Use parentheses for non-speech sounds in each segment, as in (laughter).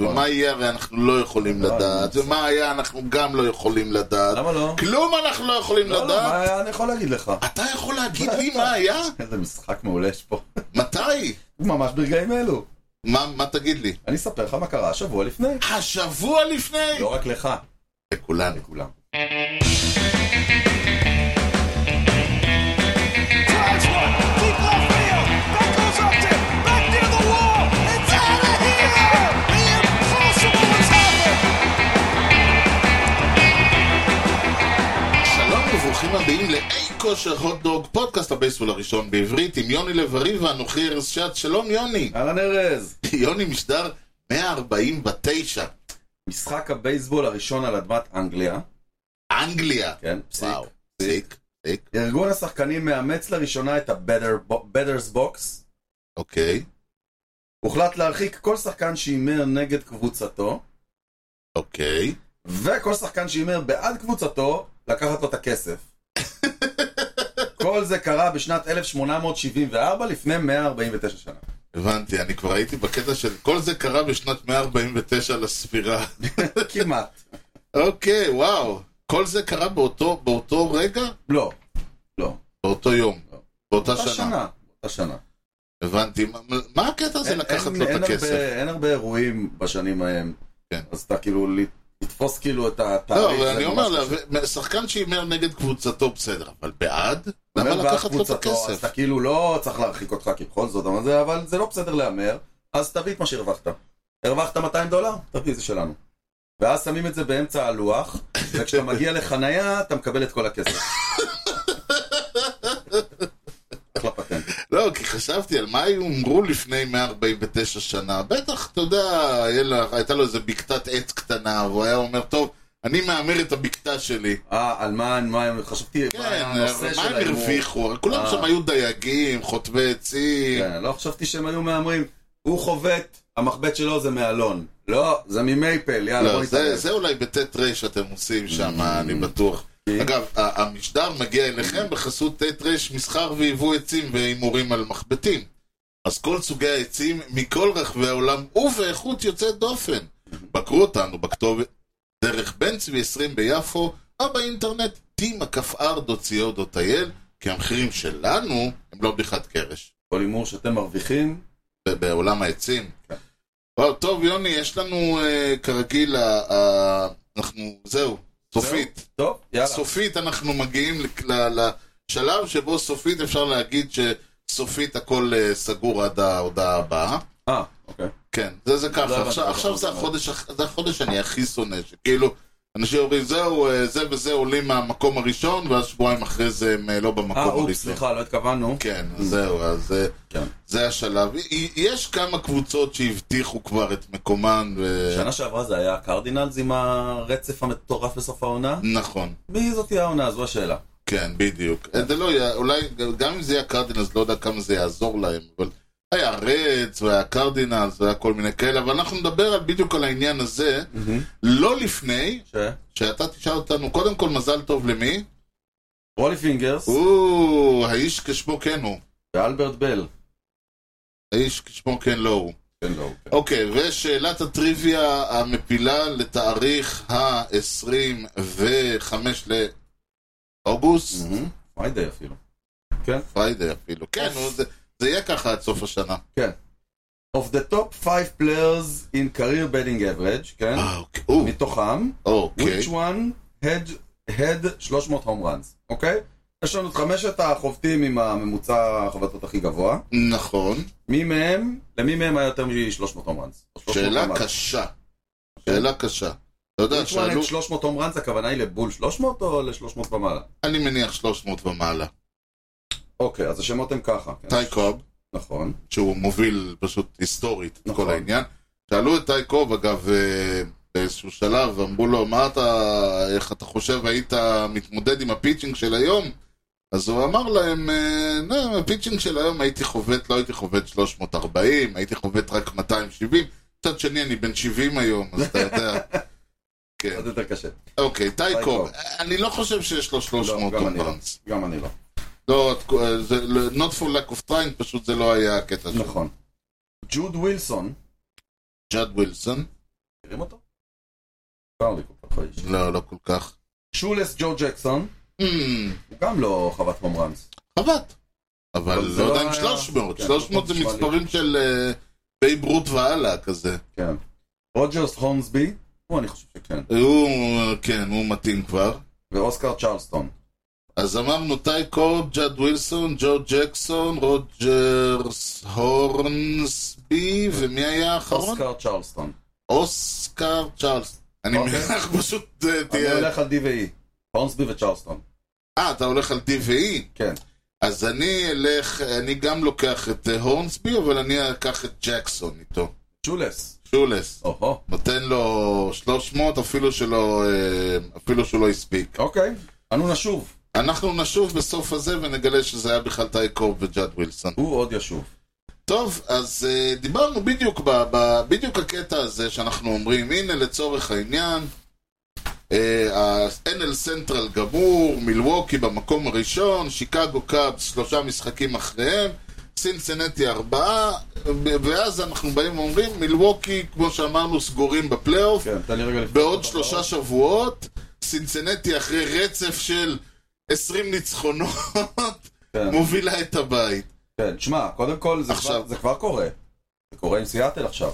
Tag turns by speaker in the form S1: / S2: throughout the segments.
S1: נכון.
S2: ומה יהיה הרי אנחנו לא יכולים לדעת, ומה היה אנחנו גם לא יכולים לדעת.
S1: למה לא?
S2: כלום אנחנו לא יכולים
S1: לא, לא, מה
S2: לדעת.
S1: היה? אני יכול להגיד לך.
S2: אתה יכול להגיד לי מה היה?
S1: איזה משחק מעולה יש פה. (laughs)
S2: מתי?
S1: ממש ברגעים אלו.
S2: מה מה תגיד לי?
S1: אני אספר לך מה קרה השבוע לפני.
S2: השבוע לפני?
S1: לא רק לך,
S2: לכולנו.
S1: לכולם.
S3: drives one, deep left field. That goes up to back near the wall. It's out of here. The impossible has happened.
S2: שלום וברוכים הבאים לאי כושר הוט דוג, פודקאסט הבייסבול הראשון בעברית עם יוני לב-ארי ואנוכי ארז שץ. שלום יוני. (laughs)
S1: אהלן ארז.
S2: יוני משדר 149.
S1: משחק הבייסבול הראשון על אדמת אנגליה.
S2: אנגליה.
S1: כן, פסיק.
S2: וואו. פסיק. פסיק.
S1: ארגון השחקנים מאמץ לראשונה את ה-Betters Box.
S2: אוקיי.
S1: הוחלט להרחיק כל שחקן שהימר נגד קבוצתו,
S2: אוקיי.
S1: וכל שחקן שהימר בעד קבוצתו, לקחת לו את הכסף. כל זה קרה בשנת 1874, לפני 149 שנה.
S2: הבנתי, אני כבר הייתי בקטע של כל זה קרה בשנת 149 לספירה. (laughs)
S1: כמעט.
S2: אוקיי, וואו. כל זה קרה באותו, באותו רגע?
S1: לא. לא.
S2: באותו יום.
S1: לא.
S2: באותה
S1: אותה
S2: שנה.
S1: שנה. אותה שנה.
S2: הבנתי. מה- מה הקטע הזה
S1: אין-
S2: לקחת
S1: אין-
S2: לו
S1: אין
S2: את
S1: הרבה-
S2: הכסף?
S1: אין הרבה אירועים בשנים ההם.
S2: כן.
S1: אז אתה כאילו, לתפוס כאילו את התאריך.
S2: לא, אבל
S1: זה
S2: אני
S1: ממש
S2: אומר,
S1: קשה.
S2: להביא- שחקן שהימר נגד קבוצתו בסדר, אבל בעד?
S1: אומר
S2: למה
S1: בעד
S2: לקחת לו את
S1: קבוצתו, אז
S2: הכסף?
S1: אתה כאילו לא צריך להרחיק אותך כי בכל זאת, אבל זה, אבל זה לא בסדר להמר, אז תביא את מה שהרווחת. הרווחת 200 דולר? תביא, זה שלנו. ואז שמים את זה
S2: (laughs)
S1: באמצע הלוח, וכשאתה מגיע לחנייה, אתה מקבל את כל הכסף. אחלה פטנט.
S2: לא, כי חשבתי על מה יאמרו לפני 149 שנה. בטח, אתה יודע, היה לה- הייתה לו איזה בקתת עץ קטנה, והוא היה אומר, טוב, אני מהמר את הבקתה שלי.
S1: אה, על מה, מה, הם- חשבתי, מה
S2: כן,
S1: היה הנושא
S2: מה
S1: של
S2: הם
S1: ההימור.
S2: הרוויחו? הרי כולם
S1: אה.
S2: שם היו דייגים, חוטבי עצים.
S1: כן, לא חשבתי שהם היו מהמרים, הוא חובט, המחבט שלו זה מאלון. לא, זה ממייפל, יאללה, בוא
S2: לא, זה-
S1: נתערב.
S2: זה אולי בט' ר' שאתם עושים שם,
S1: Mm.
S2: אני בטוח. אגב, ה- המשדר מגיע אליכם בחסות ט' ר' מסחר ויבוא עצים והימורים על מחבטים. אז כל סוגי העצים מכל רחבי העולם ובאיכות יוצאת דופן.
S1: Mm-hmm.
S2: בקרו אותנו בכתובת דרך בן צבי 20 ביפו, או באינטרנט t.r.co.il, כי המחירים שלנו הם לא בדיחת קרש.
S1: כל הימור שאתם מרוויחים,
S2: ב- בעולם העצים.
S1: כן.
S2: וואו, טוב, יוני, יש לנו אה, כרגיל, ה- ה- אנחנו, זהו, סופית.
S1: טוב, יאללה.
S2: סופית אנחנו מגיעים ל- ל- לשלב שבו סופית אפשר להגיד שסופית הכל אה, סגור עד ההודעה הבאה.
S1: אה, אוקיי.
S2: כן, זה זה
S1: לא
S2: ככה.
S1: הבנתי
S2: עכשיו-
S1: מה
S2: עכשיו
S1: אתה
S2: זה
S1: אומר.
S2: החודש הכ- זה החודש שאני הכי שונא, שכאילו, אנשים אומרים, זהו, אה, זה וזה עולים מהמקום הראשון, ואז שבועיים אחרי זה הם אה, לא במקום
S1: אה,
S2: הראשון.
S1: אופס, סליחה, לא התכוונו.
S2: כן, זהו, אז אה,
S1: כן.
S2: זה השלב. י- יש כמה קבוצות שהבטיחו כבר את מקומן, ו...
S1: שנה שעברה זה היה הקרדינלס עם הרצף המטורף בסוף העונה?
S2: נכון,
S1: מי זאת תהיה העונה? זו השאלה.
S2: כן, בדיוק. אה, זה לא יהיה, אולי, גם אם זה יהיה הקרדינלס, לא יודע כמה זה יעזור להם, אבל היה רדס, והיה קרדינלס, והיה כל מיני כאלה, אבל אנחנו נדבר על, בדיוק על העניין הזה, לא לפני,
S1: ש?
S2: שאתה תשאל אותנו, קודם כל, מזל טוב למי?
S1: רולי פינגרס
S2: הוא, האיש כשמו כן הוא.
S1: ואלברט בל.
S2: האיש כשמו כן לא הוא.
S1: כן, לא. אוקיי.
S2: אוקיי, ושאלת הטריוויה המפילה לתאריך ה-25 לאוגוסט,
S1: מהמם. פריידי אפילו.
S2: פריידי אפילו. כן, נו, זה- זה יהיה ככה עד סוף השנה.
S1: Of the top 5 players in career betting average, כן?
S2: אה, אוקיי. או,
S1: מתוכם,
S2: אוקיי.
S1: which one had- had 300 home runs, אוקיי? יש לנו את חמשת החובטים עם הממוצע החבטות הכי גבוה.
S2: נכון.
S1: מי מהם, למי מהם היה יותר מ-300 home runs? או 300 home
S2: שאלה
S1: runs.
S2: קשה. שאלה קשה. אתה יודע,
S1: ריצ'מן
S2: שאלו,
S1: את 300 הום ראנס, הכוונה היא לבול 300 או ל-300 ומעלה?
S2: אני מניח 300 ומעלה.
S1: אוקיי, אז השמות הם ככה. כן?
S2: טי קוב,
S1: נכון.
S2: שהוא מוביל פשוט היסטורית את
S1: נכון.
S2: כל העניין. שאלו את טי קוב, אגב, אה, באיזשהו שלב, אמרו לו, מה אתה, איך אתה חושב, היית מתמודד עם הפיצ'ינג של היום? אז הוא אמר להם, אה, "לא, הפיצ'ינג של היום הייתי חובט, לא הייתי חובט 340, הייתי חובט רק 270. מצד שני, אני בן 70 היום, אז אתה (laughs) יודע. כן.
S1: עוד יותר קשה.
S2: אוקיי,
S1: טי
S2: טייקוב,
S1: קוב.
S2: אני לא חושב שיש לו 300
S1: לא, גם אני לא.
S2: קומפאונדס.
S1: גם אני לא.
S2: לא, זה not for lack of trying, פשוט זה לא היה הקטע שלו.
S1: נכון. ג'וד ווילסון,
S2: ג'אד ווילסון,
S1: מכירים אותו? קרלי כל כך האיש.
S2: לא, לא כל כך.
S1: שולס ג'ו ג'קסון,
S2: אמ,
S1: הוא גם לא חוות חום רמס.
S2: חבט. אבל
S1: אבל זה
S2: לא יודע
S1: לא
S2: אם
S1: היה-
S2: 300.
S1: כן,
S2: 300 זה
S1: נשמע לי.
S2: מספרים של אה, בייב רות והלאה כזה.
S1: כן. רוג'רס הונסבי, הוא אני חושב שכן.
S2: הוא, כן, הוא מתאים כבר.
S1: ואוסקר צ'רלסטון.
S2: אז אמרנו טייקו, ג'אד ווילסון, ג'ו ג'קסון, רוג'רס הורנסבי, ומי היה האחרון?
S1: אוסקר צ'רלסטון.
S2: אוסקר צ'ארלס. אני
S1: אוקיי.
S2: מניח פשוט אה,
S1: אני
S2: תהיה...
S1: הולך על D ו-E. הונסבי וצ'רלסטון.
S2: אה, אתה הולך על DVE?
S1: כן.
S2: אז אני אלך, אני גם לוקח את אה, הורנסבי, אבל אני אקח את ג'קסון איתו.
S1: שולס.
S2: שולס.
S1: או-הו.
S2: נותן לו 300 אפילו שלא, אה, אפילו שהוא לא הספיק.
S1: אוקיי. אנו נשוב.
S2: אנחנו נשוב בסוף הזה ונגלה שזה היה בכלל טייקו וג'אד ווילסון.
S1: הוא עוד ישוב.
S2: טוב, אז אה, דיברנו בדיוק, ב, ב, בדיוק הקטע הזה שאנחנו אומרים, הנה לצורך העניין, אה, ה-NL סנטרל גמור, מילווקי במקום הראשון, שיקגו קאבס שלושה משחקים אחריהם, סינסנטי ארבעה, ו- ואז אנחנו באים ואומרים, מילווקי, כמו שאמרנו, סגורים בפלייאוף,
S1: כן, תן לי רגע לפני.
S2: בעוד שלושה שבועות, סינסנטי אחרי רצף של 20 ניצחונות, (laughs)
S1: כן.
S2: מובילה את הבית.
S1: כן, שמע, קודם כל זה
S2: עכשיו.
S1: כבר- זה כבר קורה. זה קורה עם סיאטל עכשיו.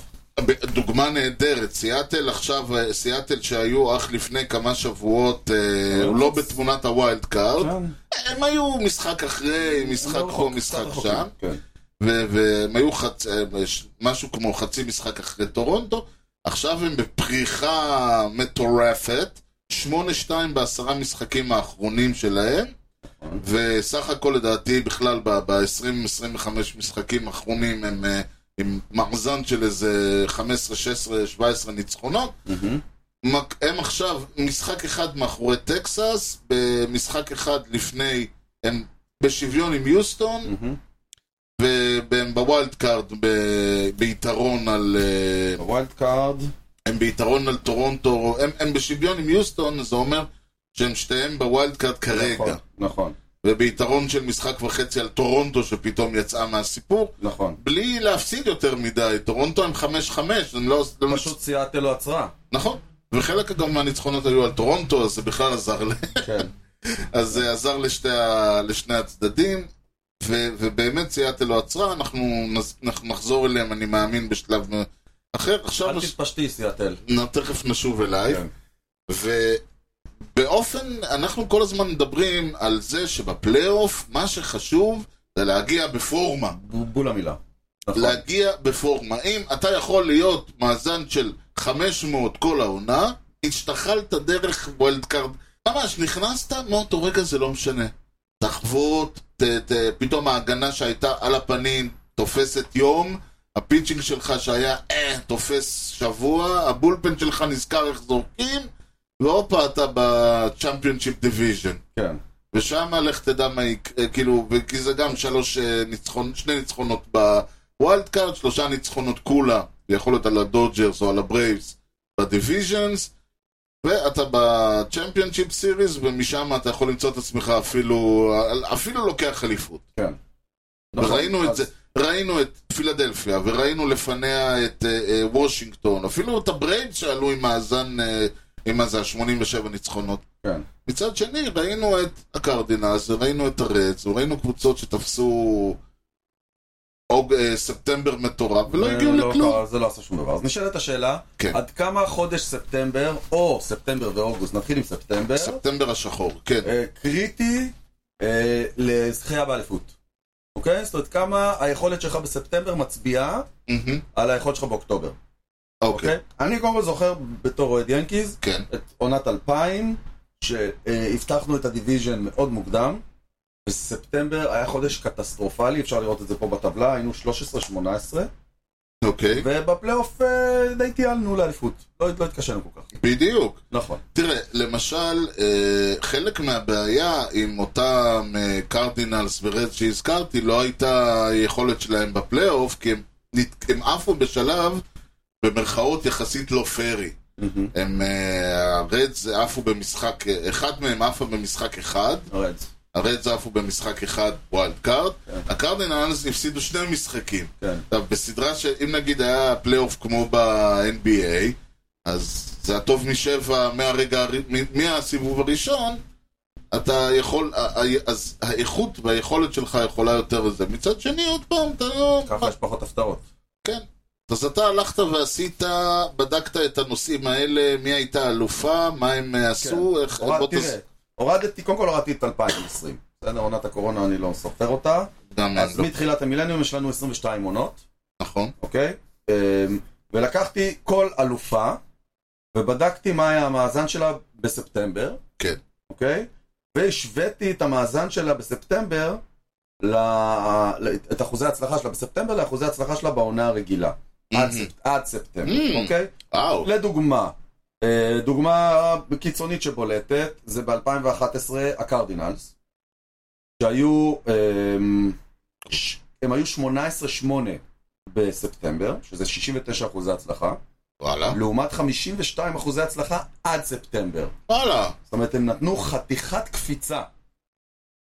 S2: דוגמה נהדרת, סיאטל עכשיו, אה, סיאטל שהיו אך לפני כמה שבועות, אה,
S1: אבל
S2: לא
S1: זה-
S2: בתמונת הווילד קארד,
S1: כן.
S2: הם היו משחק אחרי,
S1: הם
S2: משחק
S1: לא
S2: פה,
S1: רחוק,
S2: משחק
S1: קצת רחוקים.
S2: שם,
S1: כן.
S2: ו- והם היו חצ- אה, ש- משהו כמו חצי משחק אחרי טורונטו, עכשיו הם בפריחה מטורפת, 8-2 בעשרה משחקים האחרונים שלהם, וסך הכל לדעתי בכלל ב-20-25 משחקים האחרונים הם אה, עם מאזן של איזה 15, 16, 17 ניצחונות.
S1: מהמם.
S2: מק- הם עכשיו משחק אחד מאחורי טקסס, במשחק אחד לפני, הם בשוויון עם יוסטון,
S1: מהמם.
S2: והם בווילד קארד ב- ביתרון על... אה,
S1: הווילד קארד.
S2: הם ביתרון על טורונטו, הם, הם בשוויון עם יוסטון, אז זה אומר שהם שתיהם בווילד קארד כרגע.
S1: נכון, נכון,
S2: וביתרון של משחק וחצי על טורונטו שפתאום יצאה מהסיפור,
S1: נכון.
S2: בלי להפסיד יותר מדי, טורונטו הם 5-5, הם לא... לא
S1: פשוט סיאטל לא
S2: (laughs)
S1: עצרה.
S2: נכון. וחלק גם מהניצחונות היו על טורונטו, אז זה בכלל עזר, ל-
S1: כן.
S2: אז זה עזר לשתי, ה- לשני הצדדים, ו, ובאמת סיאטל לא עצרה, אנחנו, נז- אנחנו נחזור אליהם, אני מאמין, בשלב אחר. עכשיו,
S1: אל
S2: נש...
S1: תתפשטי סיאטל.
S2: נ- תכף נשוב אלייך.
S1: כן.
S2: ובאופן, אנחנו כל הזמן מדברים על זה שבפלייאוף, מה שחשוב זה להגיע בפורמה.
S1: בול- בול המילה. נכון.
S2: להגיע בפורמה. אם אתה יכול להיות מאזן של 500 כל העונה, השתחלת דרך וולד קארד. ממש, נכנסת, מאותו רגע זה לא משנה. תחבוט, ת, ת, פתאום ההגנה שהייתה על הפנים תופסת יום, הפיצ'ינג שלך שהיה אה, תופס שבוע, הבולפן שלך נזכר איך זורקים, והופה, אתה בצ'מפיונשיפ דיוויז'ן.
S1: כן.
S2: ושם לך תדע מה יק... אה, כאילו, ו- כי זה גם שלוש אה, ניצחון, שני ניצחונות בווילד קארד, שלושה ניצחונות כולה, זה יכול להיות על הדודג'רס או על הברייבס, בדיוויז'נס, ואתה בצ'מפיונשיפ סיריס, ומשם אתה יכול למצוא את עצמך אפילו, אה, אפילו לוקח אליפות.
S1: נכון,
S2: וראינו את
S1: אז-
S2: זה, ראינו את פילדלפיה, וראינו לפניה את אה, אה, וושינגטון, אפילו את הברייבס שעלו עם מאזן, אה, עם מה זה, ה-87 ניצחונות.
S1: כן.
S2: מצד שני, ראינו את הקרדינלס, וראינו את הרדס, וראינו קבוצות שתפסו אוג, אה, ספטמבר מטורף, ולא
S1: זה
S2: הגיעו
S1: לא
S2: לכלום.
S1: קרה, זה לא עשה שום דבר. אז נשאלת השאלה,
S2: כן.
S1: עד כמה חודש ספטמבר, או ספטמבר ואוגוסט, נתחיל עם ספטמבר,
S2: ספטמבר השחור, כן.
S1: אה, קריטי אה, לזכייה באליפות. אוקיי? זאת אומרת, כמה היכולת שלך בספטמבר מצביעה
S2: מהמם.
S1: על היכולת שלך באוקטובר.
S2: אוקיי,
S1: אוקיי? אני קודם כל זוכר בתור אוהד ינקיז,
S2: כן.
S1: את עונת 2000, שהבטחנו את הדיוויז'ן מאוד מוקדם. בספטמבר היה חודש קטסטרופלי, אפשר לראות את זה פה בטבלה, היינו 13-18,
S2: אוקיי,
S1: ובפלייאוף אה, די טיילנו לאליפות. לא לא התקשינו כל כך.
S2: בדיוק.
S1: נכון.
S2: תראה, למשל, אה, חלק מהבעיה עם אותם אה, קרדינלס ורד שהזכרתי, לא הייתה היכולת שלהם בפלייאוף, כי הם, נת- הם עפו בשלב, במרכאות, יחסית לא פיירי. הם, אה, הרדס עפו במשחק, אה, אחת מהם עפה במשחק אחד,
S1: הרדס.
S2: הרדס עפו במשחק אחד ווילד קארד,
S1: כן.
S2: הקרדינלס הפסידו שני משחקים.
S1: כן.
S2: עכשיו, בסדרה שאם נגיד היה פלייאוף כמו ב-NBA, אז זה הטוב משבע מהרגע, הר- מ- מהסיבוב הראשון, אתה יכול, ה- ה- אז האיכות והיכולת שלך יכולה יותר וזה. מצד שני, עוד פעם, אתה לא...
S1: ככה יש פחות הפתעות.
S2: כן. אז אתה הלכת ועשית, בדקת את הנושאים האלה, מי הייתה אלופה, מה הם עשו, איך...
S1: הורד-
S2: בוא תס-
S1: כן. תראה, הורדתי, קודם כל הורדתי את 2020. בסדר, עונת הקורונה אני לא סופר אותה.
S2: גם
S1: אז
S2: אין לו.
S1: מתחילת המילניום יש לנו 22 עונות.
S2: נכון.
S1: אוקיי? אמ, ולקחתי כל אלופה, ובדקתי מה היה המאזן שלה בספטמבר.
S2: כן.
S1: אוקיי? והשוויתי את המאזן שלה בספטמבר, ל... ל- את אחוזי ההצלחה שלה בספטמבר לאחוזי ההצלחה שלה בעונה הרגילה. עד,
S2: Mhm.
S1: ספ... עד ספטמבר,
S2: Mm.
S1: אוקיי?
S2: וואו.
S1: לדוגמה, אה, דוגמה קיצונית שבולטת, זה ב-2011 הקרדינלס, שהיו, אמ, ש- הם היו 18-8 בספטמבר, שזה 69 אחוזי הצלחה,
S2: וואלה.
S1: לעומת 52 אחוזי הצלחה עד ספטמבר.
S2: וואלה.
S1: זאת אומרת, הם נתנו חתיכת קפיצה,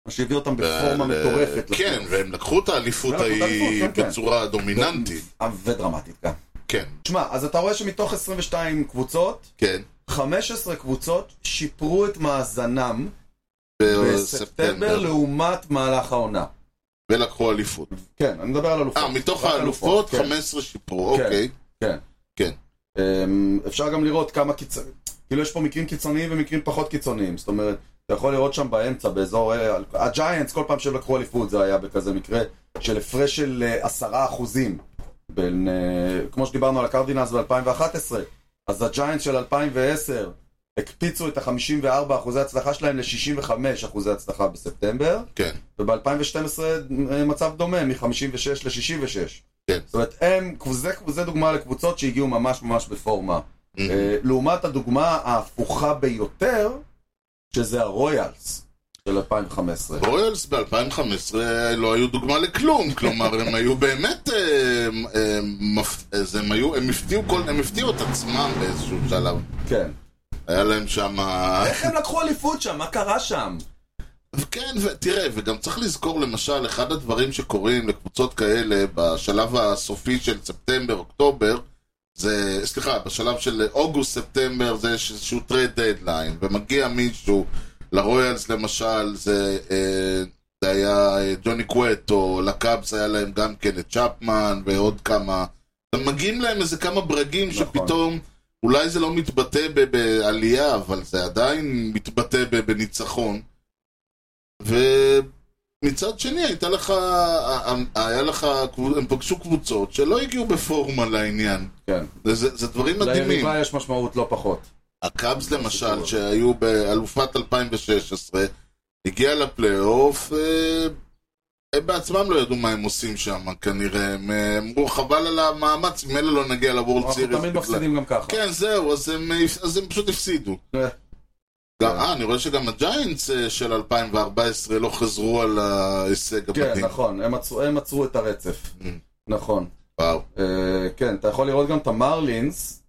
S1: מה שהביא אותם בפורמה
S2: אבל,
S1: מטורפת.
S2: כן, והם לקחו את האליפות
S1: ולקחו את
S2: ההיא
S1: האליפות, כן, כן.
S2: בצורה דומיננטית.
S1: ו- ודרמטית גם.
S2: כן,
S1: תשמע, אז אתה רואה שמתוך 22 קבוצות,
S2: כן.
S1: 15 קבוצות שיפרו את מאזנם בספטמבר
S2: בספטמבר.
S1: לעומת מהלך העונה.
S2: ולקחו אליפות.
S1: כן, אני מדבר על אלופות.
S2: אה, מתוך
S1: רק
S2: האלופות,
S1: כן.
S2: 15 שיפרו, אוקיי.
S1: אמ, אפשר גם לראות כמה קיצוניים, כאילו יש פה מקרים קיצוניים ומקרים פחות קיצוניים, זאת אומרת, אתה יכול לראות שם באמצע, באזור, אה, הג'יינטס, כל פעם שהם לקחו אליפות זה היה בכזה מקרה של הפרש של אה, עשרה אחוזים, בין, אה, כמו שדיברנו על הקרדינלס ב-2011, אז הג'יינטס של 2010 הקפיצו את ה-54 אחוזי הצלחה שלהם ל-65 אחוזי הצלחה בספטמבר,
S2: כן.
S1: וב-2012 אה, מצב דומה, מ-56 ל-66.
S2: כן.
S1: זאת אומרת, הם, זה, זה דוגמה לקבוצות שהגיעו ממש ממש בפורמה.
S2: Mm-hmm.
S1: אה, לעומת הדוגמה ההפוכה ביותר, שזה הרויאלס של 2015.
S2: רויאלס ב-2015 לא היו דוגמה
S1: (laughs)
S2: לכלום, כלומר הם היו באמת, אה, אה, מפ- אז הם היו, הם הפתיעו כל- הם הפתיעו את עצמם באיזשהו שלב.
S1: כן.
S2: היה להם שם...
S1: איך הם לקחו אליפות שם? מה קרה שם?
S2: כן, ותראה, וגם צריך לזכור למשל, אחד הדברים שקורים לקבוצות כאלה בשלב הסופי של ספטמבר, אוקטובר, זה, סליחה, בשלב של אוגוסט, ספטמבר, זה יש איזשהו טרייד דדליין, ומגיע מישהו, לרויאלס למשל, זה, אה, זה היה אה, ג'וני קווטו, לקאבס היה להם גם כן את צ'פמן, ועוד כמה, מגיעים להם איזה כמה ברגים
S1: נכון.
S2: שפתאום... אולי זה לא מתבטא ב- בעלייה, אבל זה עדיין מתבטא ב- בניצחון. ומצד שני, הייתה לך, ה- ה- היה לך, הם פגשו קבוצות שלא הגיעו בפורמה לעניין.
S1: כן.
S2: זה, זה דברים מדהימים.
S1: ליריבה יש משמעות לא פחות.
S2: הקאבס למשל,
S1: שקורה.
S2: שהיו באלופת 2016, הגיע לפלייאוף, אה, הם בעצמם לא ידעו מה הם עושים שם, כנראה. הם אה, אמרו, חבל על המאמץ, אם אלה לא נגיע לוורד
S1: אנחנו
S2: סיריס.
S1: תמיד מפסידים גם ככה.
S2: כן, זהו, אז הם, אז הם פשוט הפסידו.
S1: אה.
S2: גם, אה, אני רואה שגם הג'יינטס אה, של 2014 לא חזרו על ההישג
S1: כן,
S2: המדהים.
S1: נכון, הם עצרו- הם עצרו את הרצף.
S2: Mm.
S1: נכון.
S2: וואו.
S1: אה, כן, אתה יכול לראות גם את המרלינס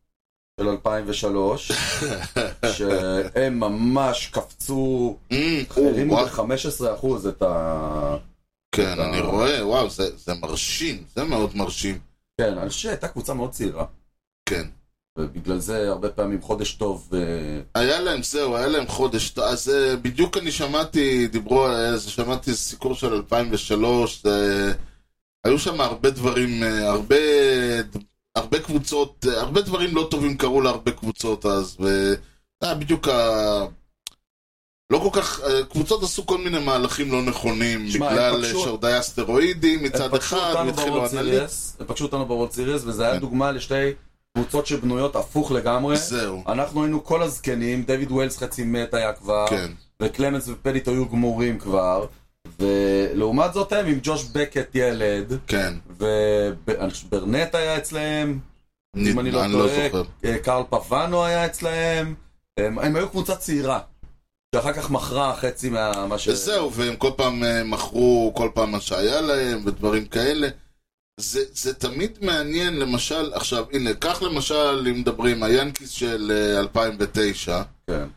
S1: של 2003,
S2: (laughs)
S1: שהם ממש קפצו,
S2: Mm,
S1: הרימו
S2: וואו,
S1: ב-15% את ה...
S2: כן,
S1: אה.
S2: אני רואה, וואו, זה זה מרשים, זה מאוד מרשים.
S1: כן, אני חושב שהייתה קבוצה מאוד צעירה,
S2: כן.
S1: ובגלל זה הרבה פעמים חודש טוב, אה,
S2: היה להם, זהו, היה להם חודש, אז אה, בדיוק אני שמעתי, דיברו, על- אז שמעתי איזה סיקור של 2003, אה, היו שם הרבה דברים, אה, הרבה, הרבה קבוצות, אה, הרבה דברים לא טובים קרו להרבה קבוצות אז, וזה היה בדיוק ה... לא כל כך, אה, קבוצות עשו כל מיני מהלכים לא נכונים,
S1: שמע, הם
S2: בגלל
S1: פגשו-
S2: אה, שהודיה סטרואידים
S1: הם
S2: מצד
S1: פגשו
S2: אחד,
S1: אותנו
S2: והתחילו
S1: בוורלד
S2: אנליטים,
S1: סיריס, הם פגשו אותנו בוורלד סיריס, וזה היה
S2: כן.
S1: דוגמה לשתי קבוצות שבנויות הפוך לגמרי.
S2: זהו,
S1: אנחנו היינו כל הזקנים, דיוויד ווילס חצי מת היה כבר,
S2: כן,
S1: וקלמנס ופדיט היו גמורים כבר, ולעומת זאת הם עם ג'וש בקט ילד,
S2: כן,
S1: וברנט היה אצלהם, אם אני לא
S2: אני לא
S1: טועה,
S2: זוכר,
S1: אה, קרל פבנו היה אצלהם, הם, הם היו קבוצה צעירה, שאחר כך מכרה חצי מה... מה ש...
S2: וזהו, והם כל פעם אה, מכרו כל פעם מה שהיה להם ודברים כאלה. זה, זה תמיד מעניין, למשל, עכשיו, הנה, קח למשל, אם מדברים, היאנקיס של אה, 2009,
S1: כן.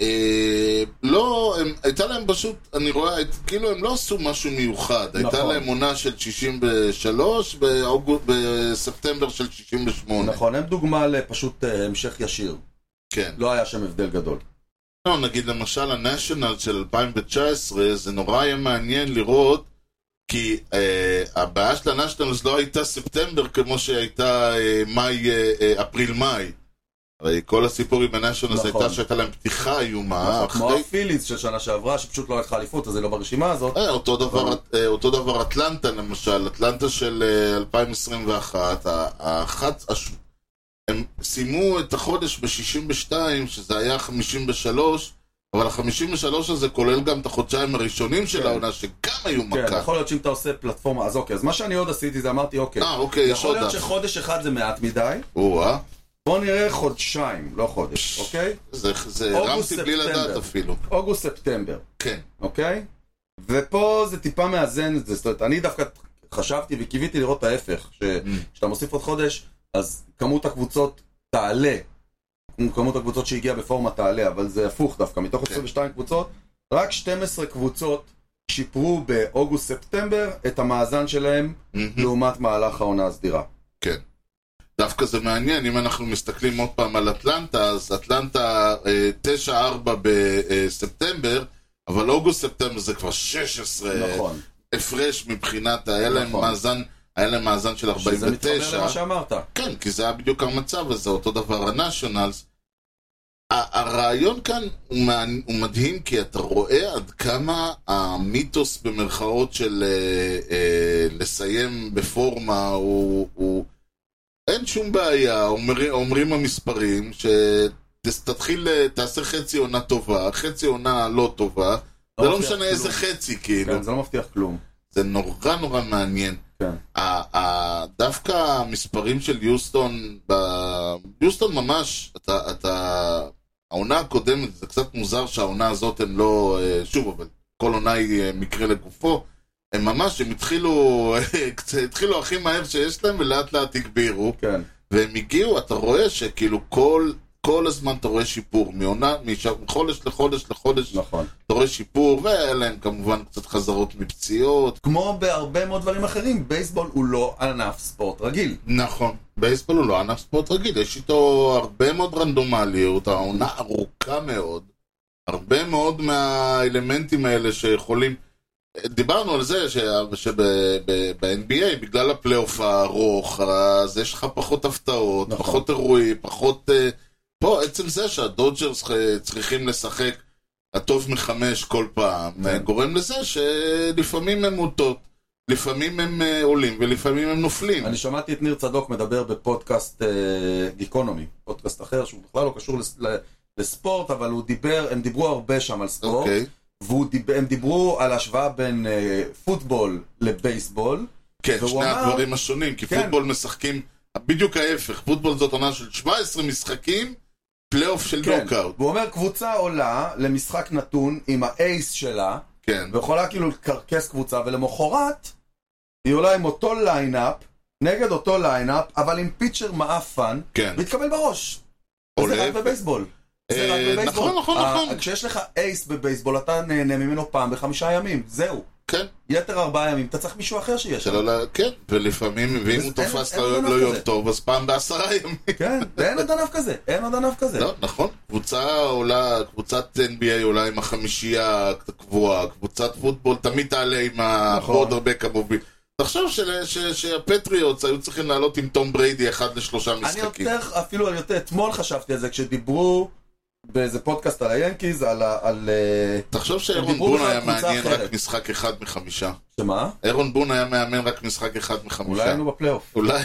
S2: אה, לא, הם, הייתה להם פשוט, אני רואה, את- כאילו הם לא עשו משהו מיוחד. הייתה
S1: נכון.
S2: להם עונה של 63 באוגו- בספטמבר של 68.
S1: נכון, הם דוגמה לפשוט אה, המשך ישיר.
S2: כן.
S1: לא היה שם הבדל גדול.
S2: לא, נגיד למשל הנשיונל של 2019, זה נורא יהיה מעניין לראות, כי אה, הבעיה של הנשיונלס לא הייתה ספטמבר כמו שהייתה אה, מאי, אה, אה, אפריל-מאי. הרי כל הסיפור עם הנשיונלס
S1: נכון.
S2: הייתה שהייתה להם פתיחה איומה,
S1: כמו
S2: אחרי...
S1: הפיליס של שנה שעברה, שפשוט לא הלכה אליפות, אז היא לא ברשימה הזאת.
S2: אה, אותו דבר, אה, אותו דבר אטלנטה למשל, אטלנטה של אה, 2021, ה- האחת, הש... הם סיימו את החודש ב-62, שזה היה 53, אבל ה-53 הזה כולל גם את החודשיים הראשונים של
S1: כן.
S2: העונה, שגם היו
S1: כן,
S2: מכה.
S1: יכול להיות שאם אתה עושה פלטפורמה, אז אוקיי, אז מה שאני עוד עשיתי זה אמרתי, אוקיי,
S2: אה, אוקיי, יש
S1: יכול
S2: עוד
S1: להיות
S2: אח. אה,
S1: שחודש אחד זה מעט מדי,
S2: או-אה,
S1: בוא נראה חודשיים, לא חודש, אוקיי?
S2: זה, זה
S1: אוגוסט,
S2: הרמתי בלי
S1: ספטמבר.
S2: לדעת אפילו.
S1: אוגוסט-ספטמבר,
S2: כן,
S1: אוקיי? ופה זה טיפה מאזן את זה, זאת אומרת, אני דווקא חשבתי וקיוויתי לראות ההפך, שכשאתה מוסיף עוד חודש, אז כמות הקבוצות תעלה, כמו כמות הקבוצות שהגיעה בפורמה תעלה, אבל זה הפוך דווקא, מתוך
S2: כן.
S1: 22 קבוצות, רק 12 קבוצות שיפרו באוגוסט-ספטמבר את המאזן שלהם
S2: מהמם.
S1: לעומת מהלך העונה הסדירה.
S2: דווקא זה מעניין, אם אנחנו מסתכלים עוד פעם על אטלנטה, אז אטלנטה אה, 9-4 בספטמבר, אבל אוגוסט-ספטמבר זה כבר 16
S1: נכון.
S2: הפרש מבחינת, היה להם
S1: נכון.
S2: מאזן, היה להם מאזן של
S1: שזה מתחבר
S2: 49.
S1: למה שאמרת. לא
S2: כן, כי זה היה בדיוק המצב הזה, אותו דבר הנשיונלס. ה- הרעיון כאן הוא, מעני- הוא מדהים, כי אתה רואה עד כמה המיתוס במרכאות של אה, אה, לסיים בפורמה הוא... הוא אין שום בעיה, אומר, אומרים המספרים, שתתחיל, אה, תעשה חצי עונה טובה, חצי עונה לא טובה, זה לא
S1: מבטיח
S2: משנה
S1: כלום.
S2: איזה חצי, כאילו.
S1: כן, זה לא מבטיח כלום.
S2: זה נורא נורא מעניין.
S1: כן.
S2: ה- ה- דווקא המספרים של יוסטון, ב- יוסטון ממש, אתה, אתה, העונה הקודמת, זה קצת מוזר שהעונה הזאת הם לא, אה, שוב, אבל כל עונה היא אה, מקרה לגופו, הם ממש, הם התחילו, (laughs) קצת- התחילו הכי מהר שיש להם ולאט לאט הגבירו,
S1: כן.
S2: והם הגיעו, אתה רואה שכאילו כל, כל הזמן אתה רואה שיפור, מעונה, משע- מחודש לחודש לחודש,
S1: נכון.
S2: אתה רואה שיפור, והיה להם כמובן קצת חזרות מפציעות,
S1: כמו בהרבה מאוד דברים אחרים, בייסבול הוא לא ענף ספורט רגיל.
S2: נכון, בייסבול הוא לא ענף ספורט רגיל, יש איתו הרבה מאוד רנדומליות, העונה ארוכה מאוד, הרבה מאוד מהאלמנטים האלה שיכולים... דיברנו על זה שב-NBA, בגלל הפלייאוף הארוך, אז יש לך פחות הפתעות,
S1: נכון.
S2: פחות אירועים, פחות... אה, פה, עצם זה שהדודג'רס אה, צריכים לשחק הטוב מחמש כל פעם,
S1: כן.
S2: גורם לזה שלפעמים הם מוטות, לפעמים הם אה, עולים ולפעמים הם נופלים.
S1: אני שמעתי את ניר צדוק מדבר בפודקאסט אה, גיקונומי, פודקאסט אחר שהוא בכלל לא קשור לס- ל- לספורט, אבל הוא דיבר, הם דיברו הרבה שם על ספורט,
S2: אוקיי.
S1: והם דיברו על השוואה בין אה, פוטבול לבייסבול,
S2: כן,
S1: והוא
S2: שני
S1: אמר-
S2: הדברים השונים, כי
S1: כן.
S2: פוטבול משחקים, בדיוק ההפך, פוטבול זאת עונה של 17 משחקים, פלייאוף של
S1: כן,
S2: נוקאוט.
S1: הוא אומר קבוצה עולה למשחק נתון עם האייס שלה,
S2: כן,
S1: ויכולה כאילו לקרקס קבוצה, ולמחרת היא עולה עם אותו ליינאפ, נגד אותו ליינאפ, אבל עם פיצ'ר מעפן,
S2: כן.
S1: והתקבל בראש.
S2: עולה.
S1: זה רק בבייסבול. זה רק
S2: אה,
S1: בבייסבול.
S2: נכון, נכון,
S1: אה,
S2: נכון.
S1: כשיש לך אייס בבייסבול, אתה נהנה ממנו פעם בחמישה ימים, זהו.
S2: כן,
S1: יתר ארבעה ימים, אתה צריך מישהו אחר שיהיה שם.
S2: שלא ל... כן, ולפעמים, ואם
S1: אז
S2: הוא
S1: אין-
S2: תופס
S1: אין
S2: לא
S1: ענף
S2: לא יום
S1: כזה.
S2: טוב, אז פעם בעשרה ימים.
S1: כן, אין עוד ענף כזה, אין עוד ענף כזה.
S2: לא, נכון, קבוצה עולה, קבוצת NBA עולה עם החמישייה הקבועה, קבוצת פוטבול תמיד תעלה עם
S1: נכון.
S2: הפורדרבק המוביל. תחשוב של- ש- שהפטריוטס היו צריכים לעלות עם תום בריידי אחד לשלושה
S1: אני
S2: משחקים.
S1: יותר, אפילו על יותר, אתמול חשבתי על זה, כשדיברו באיזה פודקאסט על היאנקיז, על ה... על, אה,
S2: תחשוב שאירון
S1: דיברו
S2: בון
S1: בכלל
S2: היה
S1: על קבוצה
S2: מעניין
S1: אחרת.
S2: רק משחק אחד מחמישה.
S1: שמה?
S2: אירון בון היה מאמן רק משחק אחד מחמישה.
S1: אולי היינו בפלייאוף.
S2: אולי.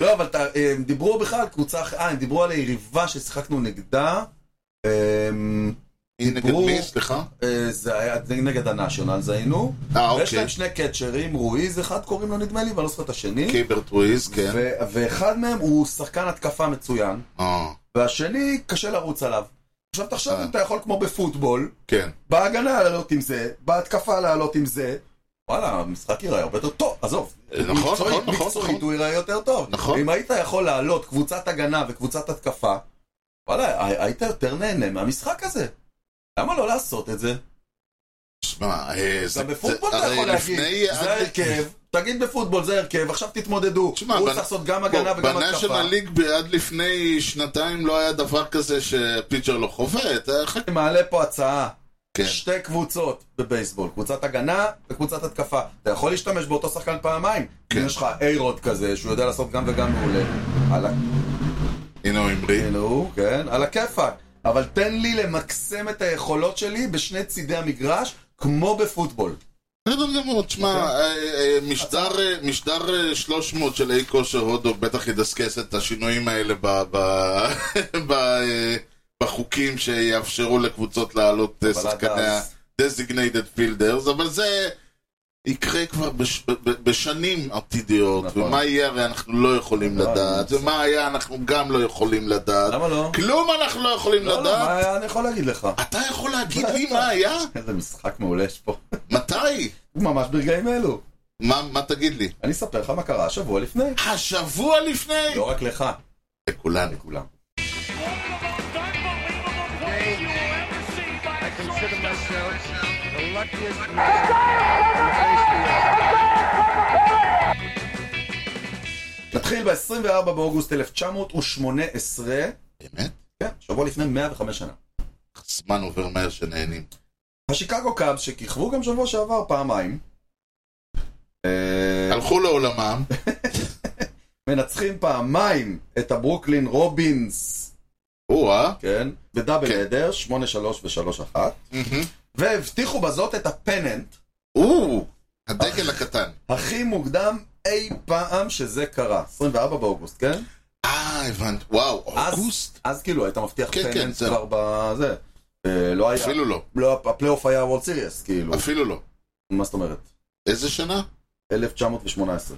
S1: לא, אבל אתה- הם דיברו בכלל על קבוצה אחרת, אה, הם דיברו על היריבה ששיחקנו נגדה. אמ,
S2: היא נגד
S1: דיברו-
S2: מי? סליחה?
S1: אה, זה היה זה נגד הנאשונלס היינו.
S2: אה,
S1: ויש
S2: אוקיי.
S1: להם שני קצ'רים, רואיז אחד קוראים לו נדמה לי, ואני לא זוכר את השני.
S2: קיברט רויז, כן.
S1: ו- ואחד מהם הוא שחקן התקפה מצוין,
S2: אה,
S1: והשני קשה לרוץ עליו. עכשיו תחשוב
S2: אה.
S1: אם אתה יכול כמו בפוטבול,
S2: כן.
S1: בהגנה לעלות עם זה, בהתקפה לעלות עם זה. וואלה, המשחק ייראה הרבה יותר טוב, עזוב.
S2: אה, נכון,
S1: מקצועית-
S2: נכון, נכון,
S1: מקצועית
S2: נכון.
S1: הוא ייראה יותר טוב.
S2: נכון.
S1: אם היית יכול לעלות קבוצת הגנה וקבוצת התקפה, וואלה, הי- היית יותר נהנה מהמשחק הזה. למה לא לעשות את זה?
S2: שמע, אה, זה...
S1: גם בפוטבול
S2: זה-
S1: אתה
S2: הרי
S1: יכול להגיד,
S2: לפני- אה,
S1: זה ההרכב, תגיד בפוטבול זה ההרכב, עכשיו תתמודדו.
S2: תשמע,
S1: הוא
S2: בנ-
S1: צריך לעשות גם הגנה וגם התקפה.
S2: בניישנל ליג ב- עד לפני שנתיים לא היה דבר כזה שפיצ'ר לא חובט, היה חכה,
S1: אני מעלה פה הצעה.
S2: כן.
S1: שתי קבוצות בבייסבול, קבוצת הגנה וקבוצת התקפה. אתה יכול להשתמש באותו שחקן פעמיים.
S2: כן.
S1: אם יש לך איירוד כזה, שהוא יודע לעשות גם וגם מעולה. על ה-
S2: הנה הוא המריא.
S1: הנה הוא, כן, על הכיפאק. אבל תן לי למקסם את היכולות שלי בשני צידי המגרש, כמו בפוטבול.
S2: בסדר גמור, תשמע,
S1: אוקיי.
S2: אה, אה, משדר, אה, משדר אה, 300 של אי כושר הודו בטח ידסקס את השינויים האלה ב, ב, (laughs) ב, אה, בחוקים שיאפשרו לקבוצות לעלות אה,
S1: אבל עד
S2: שחקני
S1: אז-
S2: ה-designated fielders, אבל זה יקרה כבר בש, ב, ב- בשנים עתידיות,
S1: נכון.
S2: ומה יהיה הרי אנחנו לא יכולים
S1: נכון.
S2: לדעת, ומה היה אנחנו גם לא יכולים לדעת,
S1: למה לא?
S2: כלום אנחנו לא יכולים
S1: לא, לא,
S2: לדעת.
S1: מה אני יכול להגיד לך? (laughs)
S2: אתה יכול להגיד לי מה היה?
S1: איזה משחק מעולה יש פה. (laughs)
S2: מתי?
S1: ממש ברגעים אלו.
S2: מה, מה תגיד לי?
S1: אני אספר לך מה קרה שבוע לפני.
S2: השבוע לפני?
S1: לא רק לך,
S2: לכולנו.
S1: לכולם.
S4: I consider myself the luckiest man.
S1: נתחיל ב-24 באוגוסט 1918,
S2: באמת?
S1: כן, שבוע לפני 105 שנה.
S2: הזמן עובר מהר שנהנים.
S1: השיקגו קאבס, שכיכבו גם שבוע שעבר פעמיים, אה,
S2: הלכו לעולמם,
S1: מנצחים פעמיים את הברוקלין רובינס,
S2: או-אה,
S1: כן, בדאבל
S2: כן.
S1: הדר, 8-3 ו-3-1,
S2: מהמם.
S1: והבטיחו בזאת את הפננט
S2: או, הדגל הקטן.
S1: הכי מוקדם אי פעם שזה קרה. 24 באוגוסט, כן?
S2: אה, הבנתי, וואו, אוגוסט?
S1: אז כאילו היית מבטיח
S2: כן, כן,
S1: פננט
S2: זהו.
S1: כבר בזה. אה, לא היה,
S2: אפילו לא,
S1: לא, הפלייאוף היה וולד סיריוס, כאילו.
S2: אפילו לא.
S1: מה זאת אומרת?
S2: איזה שנה?
S1: 1918.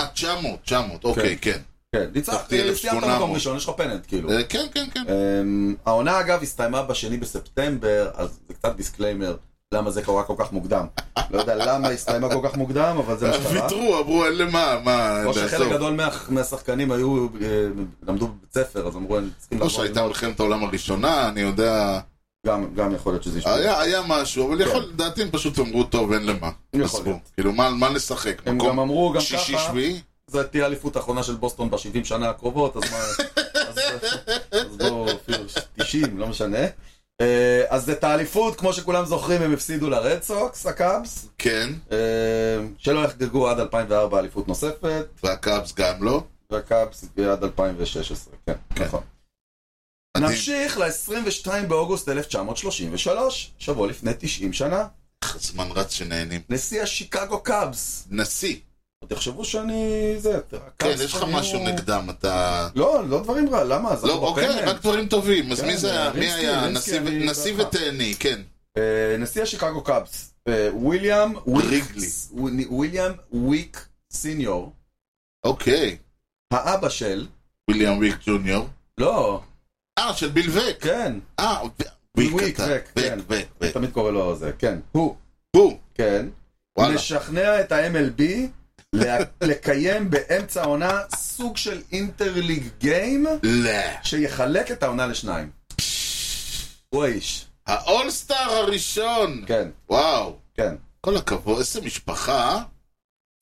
S2: אה, 900, 900, אוקיי, כן.
S1: כן, ניצחת,
S2: לקחתי
S1: סיימת
S2: 1800.
S1: מקום ראשון, יש לך פננט, כאילו.
S2: אה, כן, כן, כן.
S1: אמ, העונה אגב הסתיימה בשני בספטמבר, אז זה קצת דיסקליימר, למה זה קרה כל כך מוקדם. לא יודע למה הסתיימה כל כך מוקדם, אבל זה מה שקרה.
S2: אה, ויתרו, אה, אמרו, אין למה, מה,
S1: או
S2: לעזוב.
S1: אה, שחלק גדול מה- מהשחקנים היו, אה, למדו בבית ספר, אז אמרו, הם צריכים
S2: או
S1: לעבור
S2: לא שהייתה
S1: ללמוד."
S2: מלחמת העולם הראשונה, אני יודע,
S1: כן. גם- גם יכול להיות שזה ישמע.
S2: אה, היה היה משהו, אבל יכול, לדעתי הם פשוט אמרו, טוב, אין למה.
S1: כן. יכול
S2: עזבו.
S1: להיות.
S2: כאילו, מה מה נשחק?
S1: הם גם
S2: מקום
S1: אמרו, גם
S2: שישי,
S1: ככה,
S2: שביעי?
S1: זו תהיה האליפות האחרונה של בוסטון ב-70 שנה הקרובות, אז מה... אז- אז בואו, אפילו 90, לא משנה. אה, אז את האליפות, כמו שכולם זוכרים, הם הפסידו לרד סוקס, הקאבס,
S2: כן,
S1: אה, שלא יחגגו עד 2004 אליפות נוספת,
S2: והקאבס גם לא.
S1: והקאבס עד 2016, כן,
S2: כן.
S1: נכון.
S2: מדהים.
S1: נמשיך ל-22 באוגוסט 1933, שבוע לפני 90 שנה,
S2: הזמן רץ שנהנים.
S1: נשיא השיקגו קאבס.
S2: נשיא.
S1: תחשבו שאני... זה...
S2: כן,
S1: הקאבס
S2: יש לך
S1: היו-
S2: משהו נגדם, אתה...
S1: לא, לא דברים רע, למה? אז
S2: לא,
S1: אנחנו
S2: אוקיי,
S1: בפנדל.
S2: רק דברים טובים. אז
S1: כן,
S2: מי זה היה? מי
S1: רינסקי,
S2: היה?
S1: רינסקי,
S2: נשיא ו-
S1: אני
S2: נשיא
S1: ככה.
S2: ותהני, כן.
S1: אה, נשיא השיקגו קאבס, אה, וויליאם
S2: ריגלי.
S1: וויקס, וויליאם וויק סיניור,
S2: אוקיי.
S1: האבא של,
S2: ויליאם ויק ג'וניור.
S1: לא,
S2: אה, של ביל וק.
S1: כן,
S2: אה, ויק
S1: ביל ויק,
S2: אתה.
S1: ויק, כן.
S2: ויק, ויק, ויק.
S1: תמיד קורא לו זה, כן, הוא,
S2: הוא.
S1: כן,
S2: וואלה.
S1: לשכנע את ה-MLB לה- (laughs) לקיים באמצע העונה סוג של אינטרליג גיים
S2: לא.
S1: שיחלק את העונה לשניים. הוא האיש,
S2: האולסטאר הראשון.
S1: כן,
S2: וואו.
S1: כן.
S2: כל הכבוד, איזה משפחה. אה?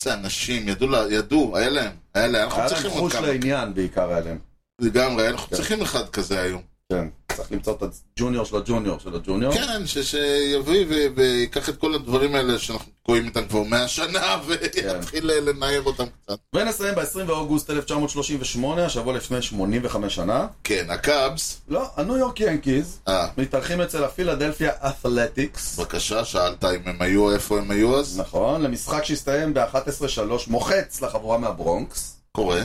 S2: איזה אנשים, ידעו, לה- ידעו, היה להם. היה להם. אנחנו
S1: היה
S2: צריכים
S1: להם
S2: עוד
S1: חוש
S2: כמה.
S1: לעניין בעיקר היה להם.
S2: לגמרי, אנחנו
S1: כן.
S2: צריכים אחד כזה היום.
S1: כן, צריך למצוא את הג'וניור של הג'וניור של הג'וניור.
S2: כן, ש- שיביא ו- ויקח את כל הדברים האלה שאנחנו תקועים איתם כבר מאה שנה (laughs) ויתחיל
S1: כן.
S2: לנער אותם קצת.
S1: ונסיים ב-20 באוגוסט 1938, השבוע לפני 85 שנה.
S2: כן, הקאבס,
S1: לא, הניו יורק ינקיז
S2: אה,
S1: מתארחים אצל הפילדלפיה אתלטיקס.
S2: בבקשה, שאלת אם הם היו, איפה הם היו אז?
S1: נכון, למשחק שהסתיים ב-11-3 מוחץ לחבורה מהברונקס.
S2: קורה,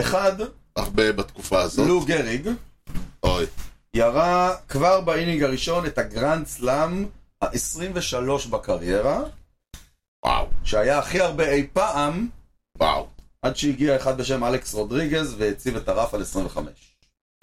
S1: אחד,
S2: הרבה בתקופה הזאת.
S1: לו גריג,
S2: אוי,
S1: ירה כבר באינינג הראשון את הגרנד סלאם ה-23 בקריירה,
S2: וואו,
S1: שהיה הכי הרבה אי פעם,
S2: וואו.
S1: עד שהגיע אחד בשם אלכס רודריגז והציב את הרף על 25.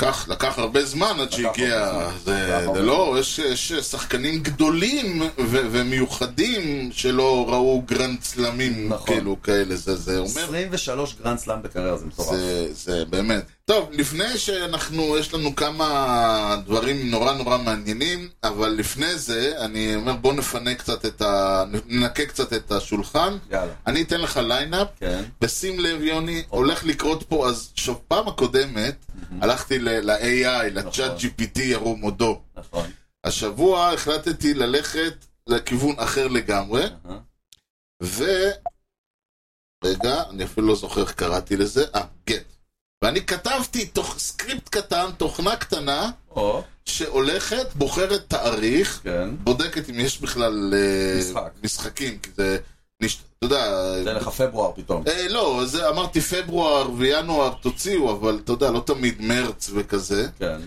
S2: לקח, לקח הרבה זמן עד שהגיע,
S1: הרבה זמן. לקח
S2: זה
S1: הרבה
S2: זה לא, יש- יש שחקנים גדולים ו- ומיוחדים שלא ראו גרנד סלמים
S1: נכון.
S2: כאילו כאלה, זה זה אומר
S1: 23 גרנד סלאם בקריירה, זה מטורף.
S2: זה, זה באמת. טוב, לפני שאנחנו, יש לנו כמה דברים נורא נורא מעניינים, אבל לפני זה, אני אומר בוא נפנה קצת את ה... ננקה קצת את השולחן.
S1: יאללה.
S2: אני אתן לך ליינאפ,
S1: כן.
S2: ושים לב יוני,
S1: אוקיי.
S2: הולך לקרות פה, אז שוב, פעם הקודמת, הלכתי ל- ל-AI, לצ'אט
S1: נכון.
S2: GPT, ירום הודו.
S1: נכון.
S2: השבוע החלטתי ללכת לכיוון אחר לגמרי,
S1: אהה.
S2: ו... רגע, אני אפילו לא זוכר איך קראתי לזה, אה, גט. ואני כתבתי תוך סקריפט קטן, תוכנה קטנה,
S1: או,
S2: שהולכת, בוחרת תאריך,
S1: כן.
S2: בודקת אם יש בכלל אה,
S1: משחק.
S2: משחקים, כי זה... נש... אתה יודע...
S1: זה לך פברואר פתאום.
S2: אה, לא, זה אמרתי פברואר וינואר תוציאו, אבל אתה יודע, לא תמיד מרץ וכזה.
S1: כן.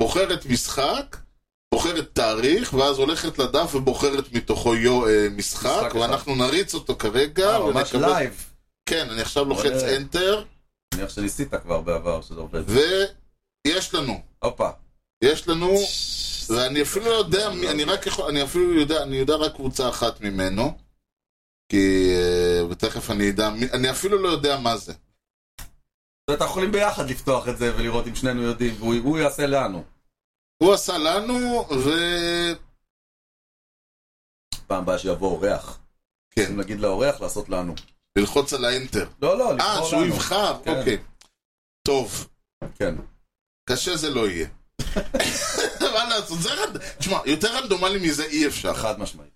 S2: בוחרת משחק, בוחרת תאריך, ואז הולכת לדף ובוחרת מתוכו יו, אה, משחק,
S1: משחק
S2: ואנחנו נריץ אותו כרגע.
S1: אה, ממש
S2: ונקבל-
S1: לייב.
S2: כן, אני עכשיו לוחץ
S1: עולה.
S2: Enter,
S1: נניח שניסית כבר בעבר שזה עובד.
S2: ויש לנו,
S1: הופה.
S2: יש לנו, ואני אפילו לא יודע, מי- אני רק יכול, אני אפילו יודע, אני יודע רק קבוצה אחת ממנו, כי, אה, ותכף אני אדע, מי- אני אפילו לא יודע מה זה.
S1: אנחנו יכולים ביחד לפתוח את זה ולראות אם שנינו יודעים, והוא הוא יעשה לנו.
S2: הוא עשה לנו, ו...
S1: פעם הבאה שיבוא אורח.
S2: כן,
S1: אם נגיד לאורח לעשות לנו.
S2: ללחוץ על האנטר.
S1: לא, לא,
S2: אה,
S1: לבחור
S2: שהוא
S1: לנו.
S2: יבחר,
S1: כן.
S2: אוקיי. טוב.
S1: כן.
S2: קשה זה לא יהיה. (laughs) מה לעשות, זה רד... תשמע, יותר רנדומלי מזה אי אפשר.
S1: חד משמעית.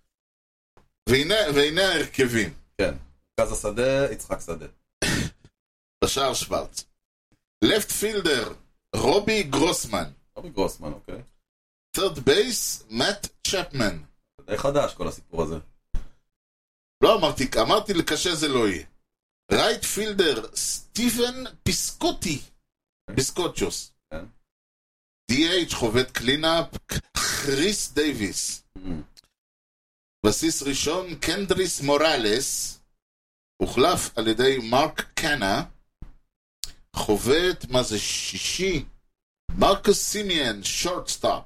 S2: והנה, והנה ההרכבים.
S1: כן. מרכז השדה, יצחק שדה.
S2: בשער שוורץ. לפט פילדר, רובי גרוסמן.
S1: רובי גרוסמן, אוקיי.
S2: third בייס, מאט צ'פמן.
S1: זה די חדש כל הסיפור הזה.
S2: לא אמרתי, אמרתי לקשה זה לא יהיה. רייט פילדר, סטיבן פיסקוטי. פיסקוטשוס.
S1: כן.
S2: DH חובט קלינאפ, כריס דייוויס.
S1: Mm-hmm.
S2: בסיס ראשון, קנדריס מוראלס, הוחלף על ידי מרק קאנה, חובט, מה זה, שישי? מרקוס סימיאן, שורטסטאפ.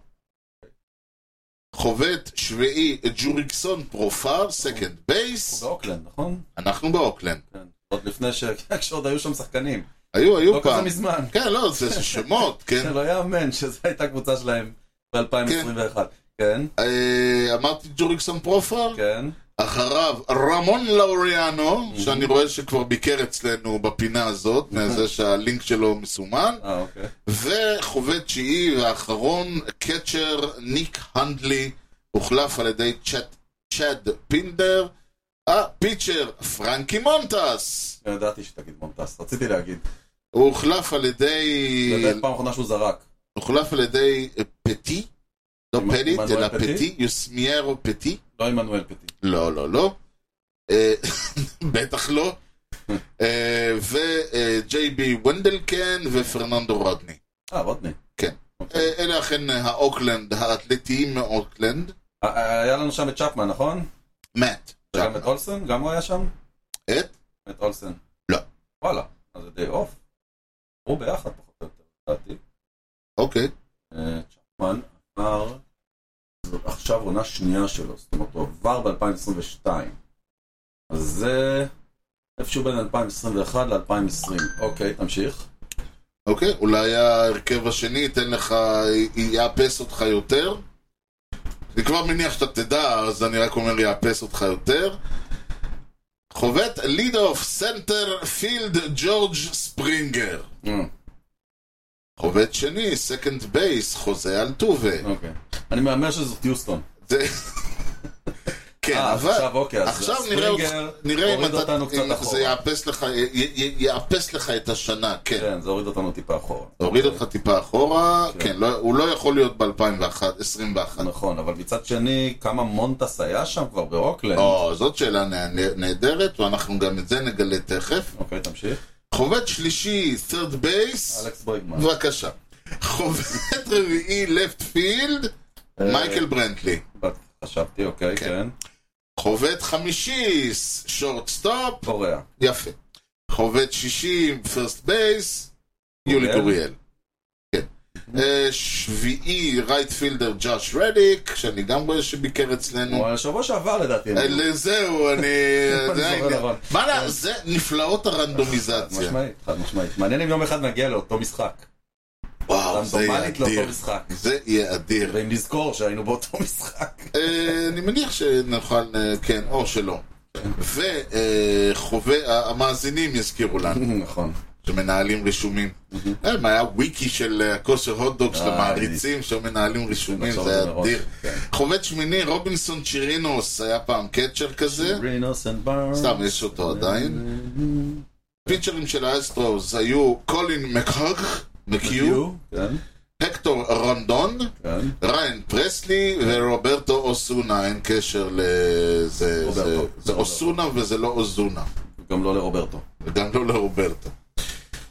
S2: חובט שביעי, ג'וריקסון פרופר, סקנד
S1: הוא
S2: בייס,
S1: באוקלנד, נכון?
S2: אנחנו באוקלנד.
S1: כן. עוד לפני ש... (laughs) כשעוד היו שם שחקנים.
S2: היו,
S1: לא
S2: היו
S1: כזה
S2: פעם.
S1: מזמן.
S2: כן, לא, זה זה שמות, כן.
S1: זה לא יאמן שזו הייתה קבוצה שלהם ב-2021. כן,
S2: אה, אמרתי ג'וריקסון פרופר,
S1: כן.
S2: אחריו, רמון לאוריאנו, שאני רואה שכבר ביקר אצלנו בפינה הזאת, מזה שהלינק שלו מסומן,
S1: אה, אוקיי.
S2: וחובד תשיעי והאחרון, קצ'ר ניק הנדלי, הוחלף על ידי צ'אט, צ'אד פינדר, הפיצ'ר פרנקי מונטס,
S1: אני ידעתי שתגיד מונטס, רציתי להגיד.
S2: הוא הוחלף על ידי,
S1: זה פעם אחרונה שהוא זרק.
S2: הוחלף על ידי פטי, לא
S1: עמנואל
S2: פליט, אלא
S1: פטי?
S2: פטי, יוסמיירו פטי,
S1: לא עמנואל פטי.
S2: לא, לא, לא. אה, (laughs) בטח לא. אה, וג'יי בי ונדלקן ופרננדו רודני.
S1: אה, רודני.
S2: כן.
S1: אוקיי.
S2: אה, אלה אכן אה, האוקלנד, האתלטיים מאוקלנד.
S1: אה, אה, היה לנו שם את צ'פמן, נכון?
S2: מאט.
S1: וגם את אולסן? גם הוא היה שם?
S2: את?
S1: את אולסן.
S2: לא.
S1: וואלה, אז זה די אוף. הוא ביחד פחות או יותר, לדעתי.
S2: אוקיי.
S1: אה, צ'פמן עבר... זאת עכשיו עונה שנייה שלו, זאת אומרת, הוא עבר ב-2022. אז זה... איפשהו בין 2021 ל-2020. אוקיי, תמשיך.
S2: אוקיי, אולי ההרכב השני ייתן לך, י- יאפס אותך יותר. אני כבר מניח שאתה תדע, אז אני רק אומר יאפס אותך יותר. חובט ליד אוף סנטר פילד ג'ורג' ספרינגר.
S1: אה,
S2: חובט שני, סקנד בייס, חוזה אלטובה.
S1: אוקיי. אני מהמר שזאת יוסטון. (laughs)
S2: זה... כן,
S1: אה,
S2: אבל...
S1: עכשיו אוקיי, אז
S2: עכשיו נראה אותך,
S1: ספרינגר
S2: נראה אם
S1: הוריד
S2: אתה,
S1: אותנו קצת
S2: אם זה
S1: אחורה.
S2: יאפס לך, י- י- יאפס לך את השנה, כן.
S1: כן, זה הוריד אותנו טיפה אחורה.
S2: הוריד אותך טיפה אחורה,
S1: כן.
S2: כן, לא- הוא לא יכול להיות ב-2021.
S1: נכון, אבל מצד שני, כמה מונטס היה שם כבר באוקלנד.
S2: או, זאת שאלה נה- נהדרת, ואנחנו גם את זה נגלה תכף.
S1: אוקיי, תמשיך.
S2: חובט שלישי, third base,
S1: אלכס ברגמן.
S2: בבקשה. חובט (laughs) רביעי, left field,
S1: אה.
S2: מייקל ברנטלי.
S1: חשבתי, אוקיי, כן.
S2: חובט חמישי, שורטסטופ,
S1: קוריאה.
S2: יפה. חובד 60, פרסט בייס, יולי
S1: אוריאל. Mm-hmm.
S2: גוריאל. כן. אה, שביעי, רייטפילדר ג'וש רדיק, שאני גם רואה שביקר אצלנו.
S1: אבל שבוע שעבר לדעתי. הם-
S2: אל- זהו,
S1: (laughs)
S2: אני...
S1: אני
S2: אה, זה
S1: זוכר
S2: העניין.
S1: נכון.
S2: מה לה- זה נפלאות
S1: חד
S2: הרנדומיזציה.
S1: משמעית, חד משמעית. מעניין אם יום אחד נגיע לאותו משחק.
S2: וואו, אה, זה יהיה
S1: רנדומלית לא לאותו
S2: אדיר.
S1: משחק.
S2: זה יהיה אדיר.
S1: ואם נזכור שהיינו באותו
S2: (laughs)
S1: משחק.
S2: אה, אני מניח שנוכל, אה, כן, או שלא.
S1: כן.
S2: והמאזינים יזכירו לנו,
S1: נכון.
S2: שמנהלים רישומים. אה, מה היה וויקי של אה, הכושר הוטדוג של
S1: איי.
S2: המעריצים, שמנהלים רישומים,
S1: נחשוב
S2: זה היה
S1: את זה מראש.
S2: אדיר.
S1: כן.
S2: חובד שמיני, רובינסון צ'ירינוס, היה פעם קצ'ר כזה.
S1: רינוס אנד ברנס.
S2: סתם, יש אותו עדיין. פיצ'רים של האסטרוס היו קולין מקהוג, מקיו,
S1: כן,
S2: הקטור רונדון,
S1: כן.
S2: ריין פרסלי ורוברטו אוסונה, אין קשר לזה, זה-
S1: רוברטו.
S2: זה
S1: רוברטו.
S2: אוסונה וזה לא אוזונה,
S1: גם לא לרוברטו.
S2: וגם לא לרוברטו.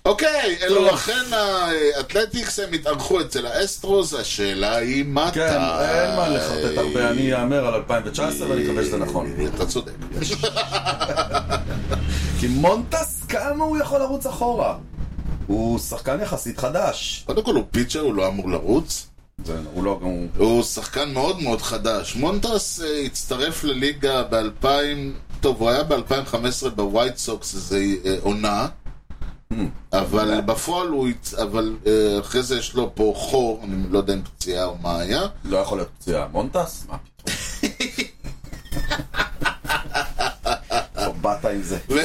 S2: אוקיי, אלו
S1: טוב.
S2: אכן האתלטיקס, הם התארחו אצל האסטרוס, השאלה היא מתי. אה,
S1: כן, אין מה לחרטט הרבה, אני אאמר על 2019 ואני מקווה שזה נכון.
S2: אתה צודק. אה.
S1: כי מונטס, כמה הוא יכול לרוץ אחורה? הוא שחקן יחסית חדש.
S2: קודם כל הוא פיצ'ר, הוא לא אמור לרוץ.
S1: זה- הוא לא גם... הוא-
S2: הוא שחקן מאוד מאוד חדש. מונטס אה, הצטרף לליגה ב-2000, טוב, הוא היה ב-2015 בווייט סוקס איזה אה, עונה,
S1: Hmm.
S2: אבל בפועל הוא, הצ- אבל אה, אחרי זה יש לו פה חור, אני לא יודע אם פציעה או מה היה.
S1: לא יכול להיות פציעה. מונטס? מה פתאום? לא באת עם זה.
S2: ו-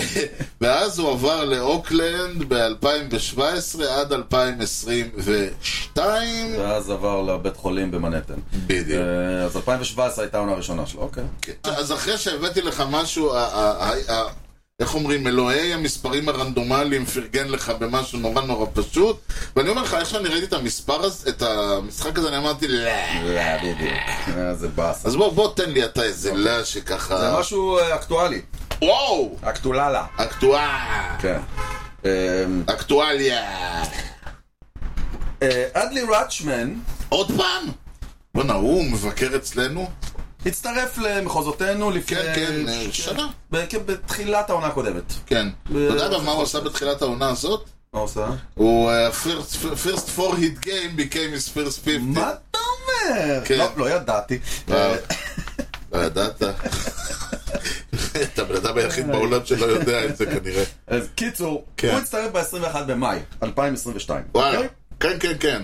S2: (laughs) ואז הוא עבר לאוקלנד ב-2017 עד 2022.
S1: ואז עבר לבית חולים במנהטן.
S2: בדיוק.
S1: אה, אז 2017 הייתה העונה הראשונה שלו, אוקיי.
S2: אז אחרי שהבאתי לך משהו, ה- ה- ה- ה- איך אומרים, אלוהי המספרים הרנדומליים פרגן לך במשהו נורא נורא פשוט, ואני אומר לך, איך שאני ראיתי את המספר הזה, את המשחק הזה, אני אמרתי, לא.
S1: לא, בדיוק. אה, זה באסה.
S2: אז בוא, בוא תן לי אתה איזה לא שככה...
S1: זה משהו אה, אקטואלי.
S2: וואו!
S1: אקטוללה.
S2: אקטואל!
S1: כן. אה,
S2: אקטואליה!
S1: אה, אדלי ראצ'מן
S2: עוד פעם? בואנה, הוא מבקר אצלנו?
S1: הצטרף למחוזותינו לפני...
S2: כן, כן, אה, שנה.
S1: ב- כן, בתחילת העונה הקודמת.
S2: כן. אתה יודע גם מה הוא עשה בתחילת העונה הזאת?
S1: מה עושה?
S2: הוא אה, first first four hit game became his first 50.
S1: מה אתה אומר?
S2: כן.
S1: לא, לא ידעתי.
S2: וואו. אה, לא ידעת? (laughs) אתה הבן אדם היחיד בעולם שלא יודע את זה כנראה.
S1: אז קיצור,
S2: כן.
S1: הוא הצטרף ב-21 במאי 2022.
S2: וואלה.
S1: אוקיי?
S2: כן, כן, כן.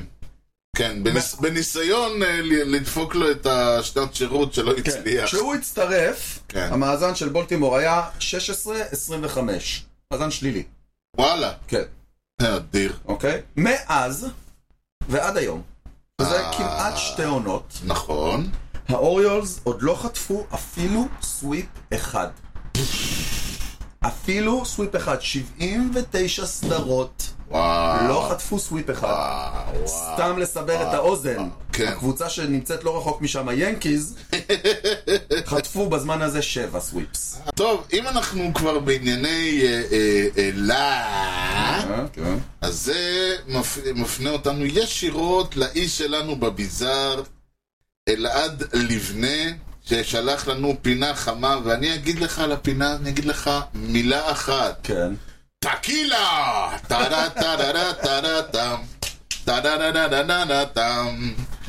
S2: כן, בניס- בניסיון אה, ל- לדפוק לו את השנת שירות שלא
S1: כן.
S2: הצליח.
S1: כשהוא הצטרף,
S2: כן.
S1: המאזן של בולטימור היה 16-25. מאזן שלילי.
S2: וואלה.
S1: כן.
S2: אה, אדיר.
S1: אוקיי? מאז ועד היום. זה
S2: אה.
S1: כמעט שתי עונות.
S2: נכון.
S1: האוריולס עוד לא חטפו אפילו סוויפ אחד. אפילו סוויפ אחד. 79 סדרות
S2: וואו.
S1: לא חטפו סוויפ אחד.
S2: וואו, וואו.
S1: סתם לסבר את האוזן,
S2: כן.
S1: הקבוצה שנמצאת לא רחוק
S2: (laughs)
S1: משם, היאנקיז, חטפו בזמן הזה שבע סוויפס.
S2: טוב, אם אנחנו כבר בענייני אה, אה, אה, לה...
S1: אה?
S2: אז זה מפ... מפנה אותנו ישירות לאיש שלנו בביזאר, אלעד לבנה, ששלח לנו פינה חמה, ואני אגיד לך על הפינה, אני אגיד לך מילה אחת.
S1: כן.
S2: טקילה! טרה טרה טרה טם. טרה טרה טרה טם.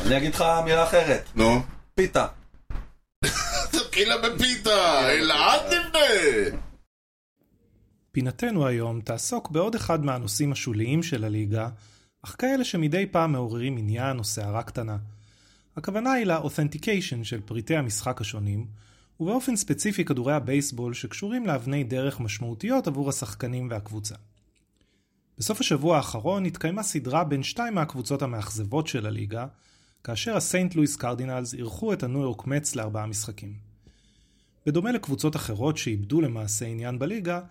S1: אני אגיד לך מילה אחרת,
S2: נו.
S1: פיתה.
S2: טקילה בפיתה! אלעד לבנה!
S5: פינתנו היום תעסוק בעוד אחד מהנושאים השוליים של הליגה, אך כאלה שמדי פעם מעוררים עניין או סערה קטנה. הכוונה היא לאותנטיקיישן של פריטי המשחק השונים, ובאופן ספציפי כדורי הבייסבול שקשורים לאבני דרך משמעותיות עבור השחקנים והקבוצה. בסוף השבוע האחרון התקיימה סדרה בין שתיים מהקבוצות המאכזבות של הליגה, כאשר הסנט לואיס קרדינלס אירחו את הניו יורק מצ לארבעה משחקים. בדומה לקבוצות אחרות שאיבדו למעשה עניין בליגה,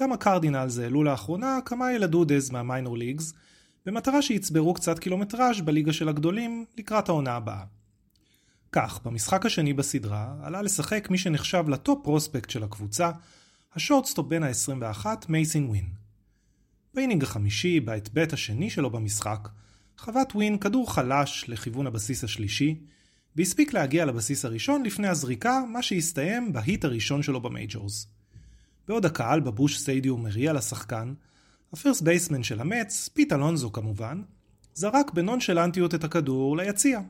S5: גם הקרדינלס העלו לאחרונה כמה ילדודז מהמיינור ליגס, במטרה שיצברו קצת קילומטראז' בליגה של הגדולים לקראת העונה הבאה. כך, במשחק השני בסדרה, עלה לשחק מי שנחשב לטופ פרוספקט של הקבוצה, השורטסטופ בן ה-21, מייסין ווין. באינינג החמישי, בעת ב' השני שלו במשחק, חבט ווין כדור חלש לכיוון הבסיס השלישי, והספיק להגיע לבסיס הראשון לפני הזריקה, מה שהסתיים בהיט הראשון שלו במייג'ורס. בעוד הקהל בבוש סטדיום מריע לשחקן, הפירסט בייסמן של המץ, פיט אלונזו כמובן, זרק בנונשלנטיות את הכדור ליציע.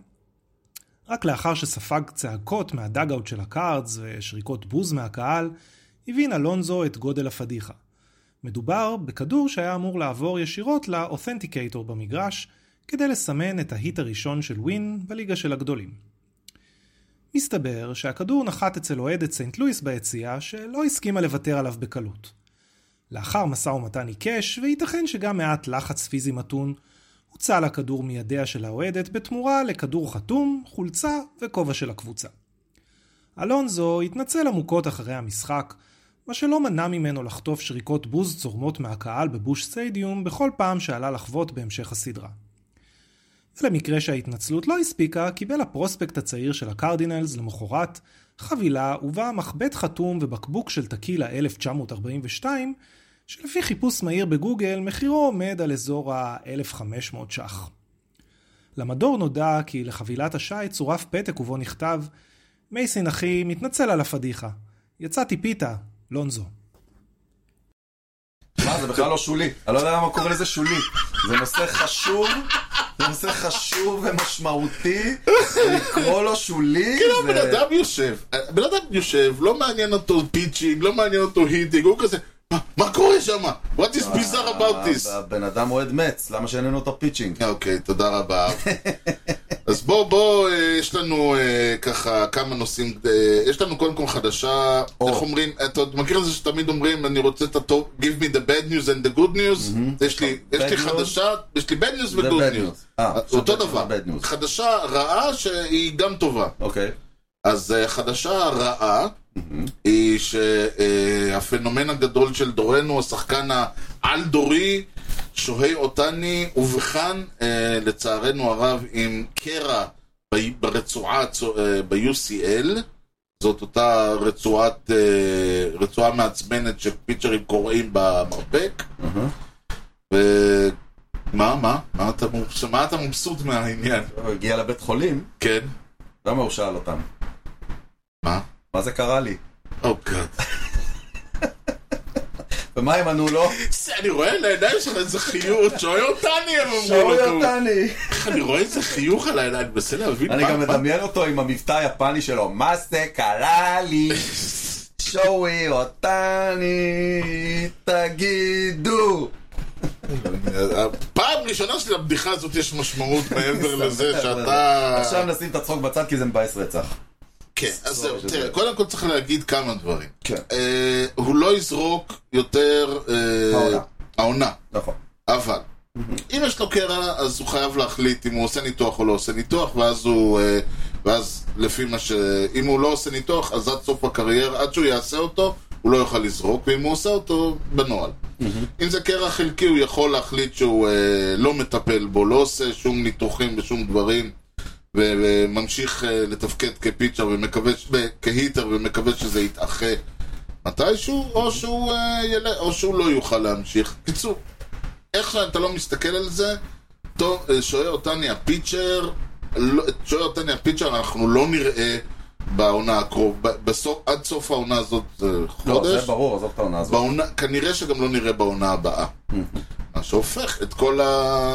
S5: רק לאחר שספג צעקות מהדאגאוט של הקארדס ושריקות בוז מהקהל, הבין אלונזו את גודל הפדיחה. מדובר בכדור שהיה אמור לעבור ישירות לאותנטיקייטור במגרש, כדי לסמן את ההיט הראשון של ווין בליגה של הגדולים. מסתבר שהכדור נחת אצל אוהדת סנט לואיס ביציאה, שלא הסכימה לוותר עליו בקלות. לאחר משא ומתן עיקש, וייתכן שגם מעט לחץ פיזי מתון, הוצל הכדור מידיה של האוהדת בתמורה לכדור חתום, חולצה וכובע של הקבוצה. אלונזו התנצל עמוקות אחרי המשחק, מה שלא מנע ממנו לחטוף שריקות בוז צורמות מהקהל בבוש סטדיום בכל פעם שעלה לחוות בהמשך הסדרה. ולמקרה שההתנצלות לא הספיקה, קיבל הפרוספקט הצעיר של הקרדינלס למחרת חבילה ובה מחבט חתום ובקבוק של טקילה 1942, שלפי חיפוש מהיר בגוגל מחירו עומד על אזור ה-1500 ש"ח. למדור נודע כי לחבילת השי צורף פתק ובו נכתב מייסין אחי, מתנצל על הפדיחה. יצאתי פיתה, לונזו.
S1: מה, זה בכלל לא שולי. אני לא יודע למה קורא לזה שולי. זה נושא חשוב, זה נושא חשוב ומשמעותי, לקרוא לו שולי.
S2: כאילו
S1: זה-
S2: בן אדם יושב, בן אדם יושב, לא מעניין אותו פיצ'ינג, לא מעניין אותו היטינג, הוא כזה, "מה- מה קורה שם? What is bizarre about this?
S1: הבן אה, אדם אוהד מצ, למה שאין לנו אותו פיצ'ינג?
S2: אוקיי, תודה
S1: (laughs)
S2: רבה. אז בוא, בוא, אה, יש לנו אה, ככה כמה נושאים, אה, יש לנו קודם כל חדשה,
S1: או.
S2: איך אומרים, אתה עוד מכיר את זה שתמיד אומרים, אני רוצה את הטוב, give me the bad news and the good news, יש לי- יש לי
S1: Bad news.
S2: חדשה, יש לי bad news
S1: The
S2: ו-good
S1: bad
S2: news.
S1: news. אה,
S2: אותו
S1: so bad news
S2: דבר,
S1: and bad news.
S2: חדשה רעה שהיא גם טובה.
S1: אוקיי.
S2: אז אה, החדשה הרעה היא שהפנומן הגדול של דורנו, השחקן העל-דורי, שוהי אותני, אובחן אה, לצערנו הרב עם קרע ב- ברצועה הצו- אה, ב-UCL. זאת אותה רצועת, אה, רצועה מעצבנת שפיצ'רים קוראים במרפק.
S1: אהה.
S2: ו... מה, מה? מה אתה מובס- מה אתה מבסוט מהעניין?
S1: הוא הגיע לבית חולים,
S2: כן?
S1: למה הוא שאל אותם?
S2: מה?
S1: מה זה קרה לי?
S2: אוקיי.
S1: ומה הם ענו לו?
S2: אני רואה על העיניים שלך איזה חיוך, שואל אותני הם אמרו
S1: שאוי
S2: לו,
S1: אותני.
S2: אני רואה איזה חיוך על העיניים, אני מנסה להבין
S1: אני
S2: מה-
S1: גם
S2: מה-
S1: מדמיין אותו עם המבטא היפני שלו, מה זה קרה לי? שואי אותני, תגידו.
S2: אה. פעם ראשונה שלבדיחה הזאת יש משמעות
S1: (laughs)
S2: מעבר לזה
S1: עכשיו
S2: שאתה...
S1: נשים את הצחוק בצד כי זה מבאס רצח.
S2: כן, אז זהו,
S1: שזה-
S2: תראה, קודם כל צריך להגיד כמה דברים.
S1: כן.
S2: אה, הוא לא יזרוק יותר... אה,
S1: העונה.
S2: העונה,
S1: נכון.
S2: אבל. אם יש לו קרע, אז הוא חייב להחליט אם הוא עושה ניתוח או לא עושה ניתוח, ואז הוא... אה, ואז לפי מה ש... אם הוא לא עושה ניתוח, אז עד סוף הקריירה, עד שהוא יעשה אותו, הוא לא יוכל לזרוק, ואם הוא עושה אותו, בנוהל. אם זה קרע חלקי, הוא יכול להחליט שהוא אה, לא מטפל בו, לא עושה שום ניתוחים ושום דברים, ו- וממשיך אה, לתפקד כפיצ'ר ומקווה, ש- ו- כהיטר, ומקווה שזה יתאחה מתישהו, או שהוא, אה, יל... או שהוא לא יוכל להמשיך. קיצור, איך שאתה לא מסתכל על זה, טוב, אה, שוער אותני הפיצ'ר, לא- את שוער אותני הפיצ'ר אנחנו לא נראה בעונה הקרוב, ב- בסוף, עד סוף העונה הזאת אה,
S1: לא,
S2: חודש.
S1: זה ברור, עזוב את העונה הזאת.
S2: בעונה, כנראה שגם לא נראה בעונה הבאה. מה שהופך את כל, ה,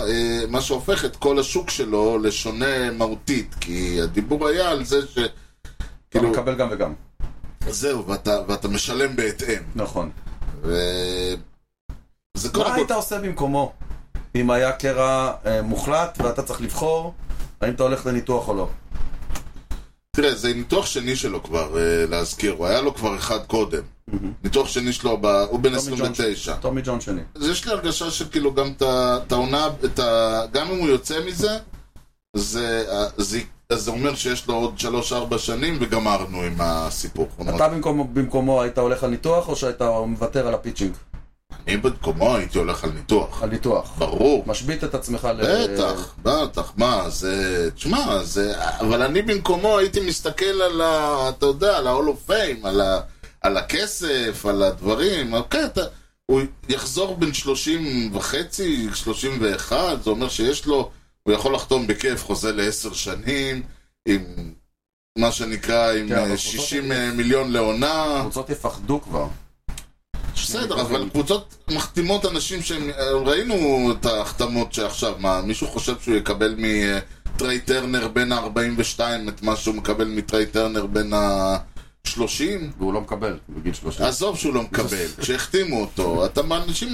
S2: אה, מה שהופך את כל השוק שלו לשונה מהותית, כי הדיבור היה על זה ש...
S1: אתה
S2: כאילו,
S1: מקבל גם וגם.
S2: זהו, ואתה, ואתה משלם בהתאם.
S1: נכון.
S2: ו... זה
S1: מה
S2: קודם
S1: היית
S2: כל...
S1: עושה במקומו? אם היה קרע אה, מוחלט ואתה צריך לבחור, האם אתה הולך לניתוח או לא?
S2: תראה, זה ניתוח שני שלו כבר, אה, להזכיר, הוא היה לו כבר אחד קודם. ניתוח שני שלו, ב... הוא בן
S1: טומי ג'ון
S2: 29.
S1: טומי ג'ון שני.
S2: אז יש לי הרגשה שכאילו גם את ה- את העונה, את ה- גם אם הוא יוצא מזה, זה, זה, אז זה אומר שיש לו עוד 3-4 שנים וגמרנו עם הסיפור. כלומר,
S1: אתה במקומו- במקומו היית הולך על ניתוח או שהיית מוותר על הפיצ'ינג?
S2: אני במקומו הייתי הולך על ניתוח.
S1: על ניתוח.
S2: ברור.
S1: משבית את עצמך ל...
S2: בטח, בטח, מה, זה, תשמע, זה, אבל אני במקומו הייתי מסתכל על ה, אתה יודע, על ה-all of fame, על, ה, על הכסף, על הדברים, אוקיי, אתה, הוא יחזור בין 30 וחצי, 31, זה אומר שיש לו, הוא יכול לחתום בכיף חוזה לעשר שנים, עם מה שנקרא, עם
S1: כן, אבל
S2: אה,
S1: קבוצות-
S2: 60 מיליון לעונה.
S1: הקבוצות יפחדו כבר.
S2: בסדר, אבל קבוצות מחתימות אנשים שהם... אה, ראינו את ההחתמות שעכשיו, מה, מישהו חושב שהוא יקבל מטריי טרנר בין ה-42 את מה שהוא מקבל מטריי טרנר בין ה-30?
S1: והוא לא מקבל בגיל 30.
S2: עזוב שהוא לא (laughs) מקבל, כשהחתימו אותו, אתה מאנשים...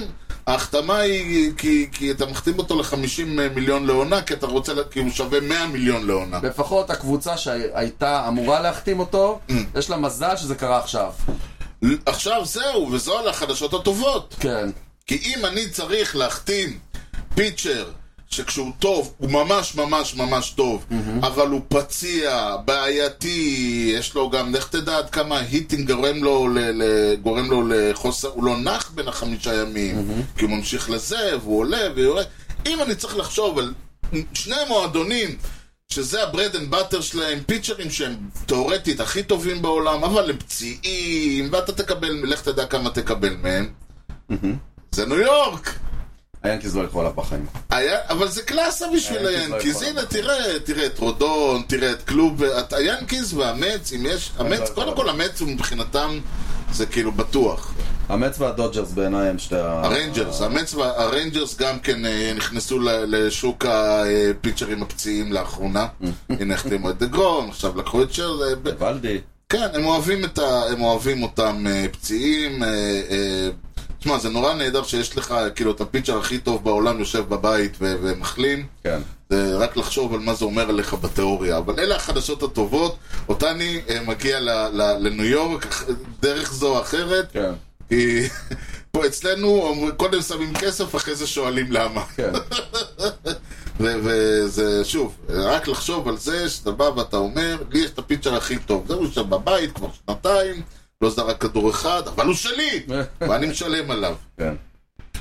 S2: ההחתמה היא כי, כי אתה מחתים אותו ל-50 מיליון לעונה, כי אתה רוצה, לה- כי הוא שווה 100 מיליון לעונה.
S1: לפחות הקבוצה שהייתה אמורה להחתים אותו, יש לה מזל שזה קרה עכשיו.
S2: עכשיו זהו, וזו על החדשות הטובות.
S1: כן.
S2: כי אם אני צריך להחתים פיצ'ר שכשהוא טוב, הוא ממש ממש ממש טוב, mm-hmm. אבל הוא פציע, בעייתי, יש לו גם, לך תדע עד כמה היטינג גורם לו, ל, ל, גורם לו לחוסר, הוא לא נח בין החמישה ימים, mm-hmm. כי הוא ממשיך לזה, והוא עולה ויורד. אם אני צריך לחשוב על שני מועדונים שזה הברד אנד באטר שלהם, פיצ'רים שהם תאורטית הכי טובים בעולם, אבל הם פציעים, ואתה תקבל, לך תדע כמה תקבל מהם. זה ניו יורק!
S1: היאנקיז לא ילכו עליו בחיים.
S2: היה, אבל זה קלאסה בשביל
S1: היאנקיז לא
S2: היאנקיז,
S1: יכול.
S2: הנה תראה, תראה את רודון, תראה את קלוב, את- היאנקיז והמץ, אם יש, המץ,
S1: לא
S2: קודם
S1: יכול.
S2: כל המץ הוא מבחינתם, זה כאילו בטוח.
S1: המץ והדודג'רס בעיניי הם שתי ה...
S2: הריינג'רס, המץ והריינג'רס גם כן אה, נכנסו ל- לשוק הפיצ'רים הפציעים לאחרונה.
S1: (laughs)
S2: הנה החתימו את דגרום, עכשיו לקחו את שר... אה, ב-
S1: ולדי.
S2: כן, הם אוהבים, את ה... הם אוהבים אותם אה, פציעים. אה, אה, תשמע, זה נורא נהדר שיש לך, כאילו, את הפיצ'ר הכי טוב בעולם יושב בבית ו- ומחלים.
S1: כן.
S2: זה רק לחשוב על מה זה אומר עליך בתיאוריה. אבל אלה החדשות הטובות. אותני אה, מגיע ל... ל... לניו יורק אח- דרך זו או אחרת.
S1: כן.
S2: כי (laughs) פה אצלנו אומרים- קודם שמים כסף, אחרי זה שואלים למה.
S1: כן.
S2: ו- וזה, שוב, רק לחשוב על זה שאתה בא ואתה אומר, לי יש את הפיצ'ר הכי טוב. זהו, הוא שם בבית כבר שנתיים, לא זרק כדור אחד, אבל הוא שלי! ואני משלם עליו.
S1: כן.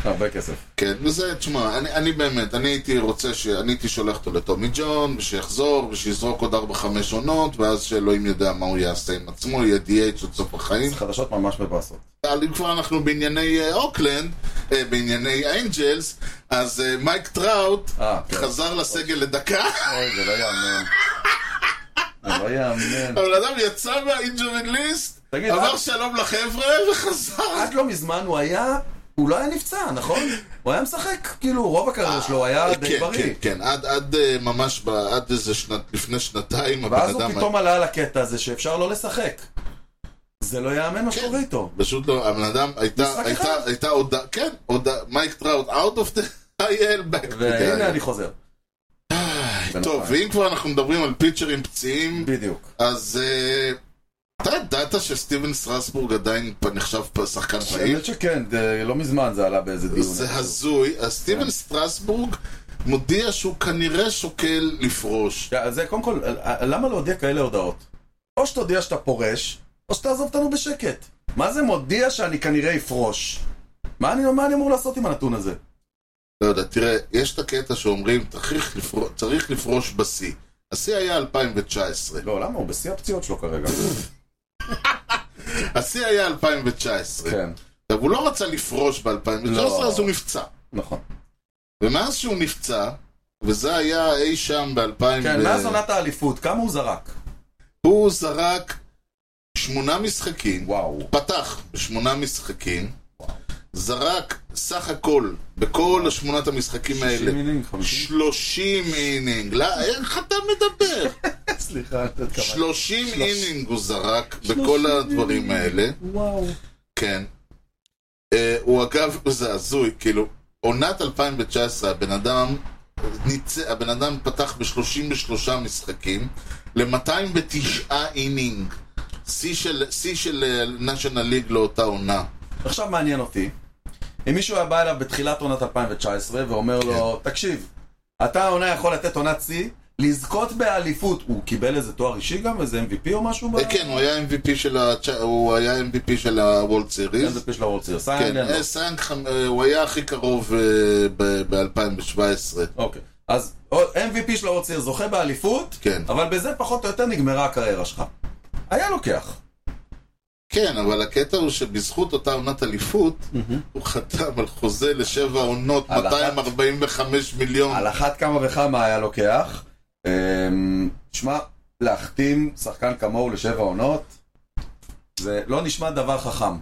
S1: הרבה כסף.
S2: כן, וזה, תשמע, אני, אני באמת, אני הייתי רוצה, ש... אני הייתי שולח אותו לטומי ג'ון, ושיחזור, ושיזרוק עוד 4-5 עונות, ואז שאלוהים יודע מה הוא יעשה עם עצמו, יהיה DH עד סוף החיים.
S1: זה חדשות ממש מבאסות.
S2: אבל אם כבר אנחנו בענייני אה, אוקלנד, אה, בענייני האנג'לס, אז אה, מייק טראוט
S1: אה, כן.
S2: חזר לסגל לדקה. (laughs)
S1: אוי, זה לא יאמן. זה לא יאמן.
S2: הבן אדם יצא מהאינג'ורי ליסט,
S1: תגיד,
S2: אמר
S1: אה?
S2: שלום לחבר'ה (laughs) וחזר.
S1: עד לא מזמן הוא היה... הוא לא היה נפצע, נכון? הוא היה משחק, כאילו, רוב הקריירה שלו היה די
S2: כן, כן,
S1: בריא.
S2: כן, עד- עד אה, ממש ב- עד איזה שנת, לפני שנתיים, הבן
S1: ואז הוא
S2: אדם...
S1: פתאום עלה על הקטע הזה שאפשר לא לשחק. זה לא יאמן
S2: כן.
S1: מה שקורה איתו.
S2: פשוט לא, הבן אדם הייתה,
S1: משחק
S2: הייתה,
S1: אחד.
S2: הייתה הודעה, כן, הודעה, מייק טראוט, out of the IL back. to the
S1: והנה
S2: IL.
S1: אני חוזר.
S2: טוב, ואם כבר אנחנו מדברים על פיצ'רים פציעים,
S1: בדיוק.
S2: אז אה, אתה ידעת שסטיבן סטרסבורג עדיין פ- נחשב פ- שחקן פעיל?
S1: האמת שכן, זה- לא מזמן זה עלה באיזה דיון.
S2: כן. זה הזוי, אז
S1: כן.
S2: סטיבן סטרסבורג מודיע שהוא כנראה שוקל לפרוש.
S1: כן, אז זה קודם כל, אה, אה, למה להודיע כאלה הודעות? או שתודיע שאתה פורש, או שתעזוב אותנו בשקט. מה זה מודיע שאני כנראה אפרוש? מה אני, מה אני אמור לעשות עם הנתון הזה?
S2: לא יודע, תראה, יש את הקטע שאומרים, "צריך לפרוש- צריך לפרוש בשיא. השיא היה 2019.
S1: לא, למה? הוא בשיא הפציעות שלו כרגע.
S2: השיא היה 2019.
S1: כן,
S2: עכשיו, הוא לא רצה לפרוש ב-2019,
S1: לא.
S2: אז הוא נפצע.
S1: נכון.
S2: ומאז שהוא נפצע, וזה היה אי שם ב-2000...
S1: כן, מאז עונת האליפות, כמה הוא זרק?
S2: הוא זרק שמונה משחקים,
S1: וואו.
S2: פתח בשמונה משחקים, זרק סך הכל, בכל השמונת המשחקים האלה,
S1: 60 מינינג, 50?
S2: 30 אינינג. לא, איך אתה מדבר?
S1: (laughs) סליחה, אתה יודע כמה.
S2: 30 אינינג הוא זרק בכל הדברים האלה.
S1: וואו.
S2: כן. אה, הוא אגב, זה הזוי, כאילו, עונת 2019, הבן אדם, ניצ... הבן אדם פתח ב-33 משחקים, ל-209 אינינג. שיא של, שיא של נשיונל ליג לאותה עונה.
S1: עכשיו מעניין אותי, אם מישהו היה בא אליו בתחילת עונת 2019 ואומר לו, תקשיב, אתה העונה יכול לתת עונת שיא, לזכות באליפות, הוא קיבל איזה תואר אישי גם, איזה MVP או משהו? ב-
S2: אה, כן, הוא היה MVP של ה... הוא היה MVP של הוולד סיריס.
S1: MVP של הוורד סיריוס.
S2: כן,
S1: סיינלנד,
S2: אה, סיינג חמ- אה, הוא היה הכי קרוב אה, ב-2017.
S1: אוקיי. אז עוד MVP של הוורד סיריוס זוכה באליפות,
S2: כן.
S1: אבל בזה פחות או יותר נגמרה הקריירה שלך. היה לוקח.
S2: כן, אבל הקטע הוא שבזכות אותה עונת אליפות, הוא חתם על חוזה לשבע עונות,
S1: על אחת.
S2: 245 מיליון.
S1: על אחת כמה וכמה היה לוקח. אמ, שמע, להחתים שחקן כמוהו לשבע עונות, זה לא נשמע דבר חכם.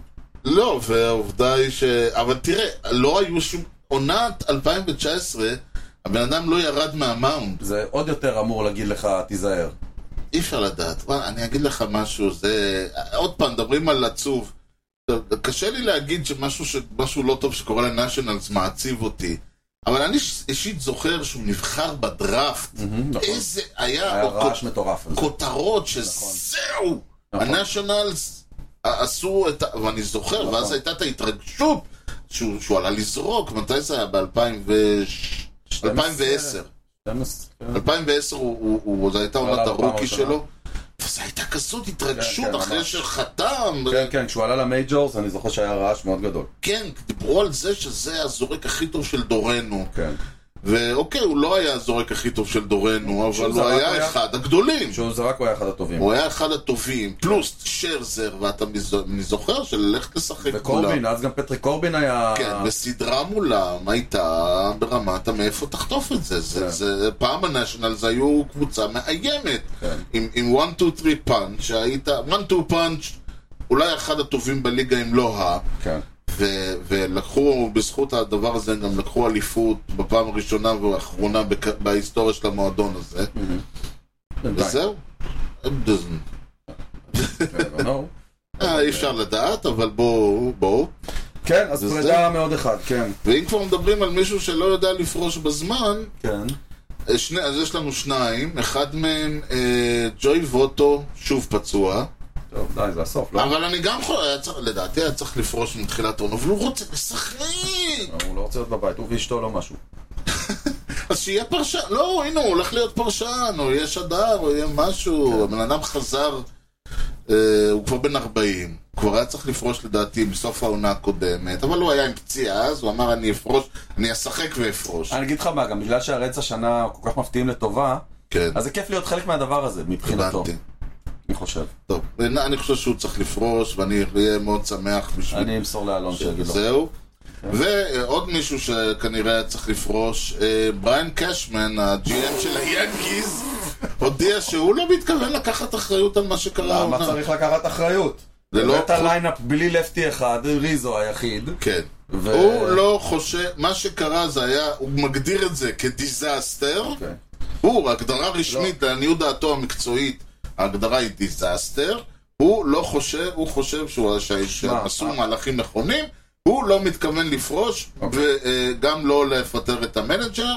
S2: לא, והעובדה היא ש... אבל תראה, לא היו שום... עונת 2019, הבן אדם לא ירד מהמאונד.
S1: זה עוד יותר אמור להגיד לך, תיזהר.
S2: אי אפשר לדעת. וואלה, אני אגיד לך משהו, זה... עוד פעם, מדברים על עצוב. קשה לי להגיד שמשהו, ש... משהו לא טוב שקורה לנשיונלס מעציב אותי. אבל אני אישית זוכר שהוא נבחר בדראפט.
S1: נכון. אוקיי.
S2: איזה היה...
S1: היה
S2: או-
S1: רעש מטורף.
S2: כותרות
S1: נכון.
S2: שזהו,
S1: נכון.
S2: הנשיונלס עשו את ה... ואני זוכר,
S1: נכון.
S2: ואז הייתה את ההתרגשות שהוא שהוא עלה לזרוק, מתי זה היה? ב-2010. 2010
S1: כן.
S2: 2010 הוא- הוא- הוא- זו הייתה
S1: הוא עלה
S2: עונת
S1: בפעם
S2: הרוקי
S1: הראשונה.
S2: שלו. וזו הייתה כזאת
S1: כן,
S2: התרגשות
S1: כן,
S2: אחרי
S1: ממש.
S2: שחתם.
S1: כן, כן, כשהוא עלה למייג'ורס, אני זוכר שהיה רעש מאוד גדול.
S2: כן, דיברו על זה שזה הזורק הכי טוב של דורנו.
S1: כן.
S2: ואוקיי, הוא לא היה הזורק הכי טוב של דורנו, אבל
S1: שהוא
S2: הוא
S1: זרק, הוא
S2: היה
S1: היה-
S2: אחד הגדולים.
S1: כשהוא זרק הוא היה אחד הטובים.
S2: הוא היה אחד הטובים, פלוס שרזר, ואתה מז- אני זוכר שללכת לשחק מולם.
S1: וקורבין, אז גם פטריק קורבין היה...
S2: כן, וסדרה מולם הייתה ברמת המאיפה תחטוף את זה. זה,
S1: כן.
S2: זה פעם הנשיונלס היו קבוצה מאיימת.
S1: כן.
S2: עם, עם 1, 2, 3 פאנץ', שהיית, 1, 2 פאנץ', אולי אחד הטובים בליגה אם לא ה...
S1: כן.
S2: ו- ולקחו, בזכות הדבר הזה, הם גם לקחו אליפות בפעם הראשונה והאחרונה בק- בהיסטוריה של המועדון הזה. וזהו.
S1: Never know.
S2: אה, אי אפשר לדעת, אבל בואו, בואו.
S1: כן, אז
S2: וזה-
S1: פרידה מעוד אחד, כן.
S2: ואם כבר מדברים על מישהו שלא יודע לפרוש בזמן,
S1: כן.
S2: אה, שני, אז יש לנו שניים, אחד מהם אה, ג'וי ווטו, שוב פצוע,
S1: טוב, די, זה הסוף, לא?
S2: אבל אני גם יכול, היה צריך, לדעתי היה צריך לפרוש מתחילת עונה, אבל הוא רוצה לשחק!
S1: הוא לא רוצה להיות בבית, הוא ואשתו לא משהו.
S2: אז שיהיה פרשן, לא, הנה, הוא הולך להיות פרשן, או יהיה שדר, או יהיה משהו, הבן אדם חזר, אה, הוא כבר בן 40, כבר היה צריך לפרוש לדעתי בסוף העונה הקודמת, אבל הוא היה עם פציעה, אז הוא אמר אני אפרוש, אני אשחק ואפרוש.
S1: אני אגיד לך מה, גם בגלל שהרץ השנה כל כך מפתיעים לטובה,
S2: כן,
S1: אז זה כיף להיות חלק מהדבר הזה, מבחינתו,
S2: הבנתי.
S1: אני חושב.
S2: טוב, אני אני חושב שהוא צריך לפרוש, ואני אהיה מאוד שמח בשביל
S1: אני אמסור לאלון שיגיד לו. כן.
S2: זהו. ועוד מישהו שכנראה היה צריך לפרוש, אה, בריין קשמן, ה-GM של היאנקיז, הודיע שהוא לא מתכוון לקחת אחריות על מה שקרה
S1: למה
S2: העונה.
S1: צריך לקחת אחריות?
S2: זה לא-
S1: הבאת ליינאפ בלי לפטי אחד, ריזו היחיד.
S2: כן.
S1: ו-
S2: הוא לא חושב, מה שקרה זה היה, הוא מגדיר את זה כדיזסטר.
S1: אוקיי. לא.
S2: הוא, הגדרה רשמית, לעניות דעתו המקצועית, ההגדרה היא דיזסטר. הוא לא חושב, הוא חושב שהוא- שה- שהם עשו
S1: אה.
S2: מהלכים נכונים. הוא לא מתכוון לפרוש,
S1: אוקיי.
S2: וגם לא לפטר את המנג'ר,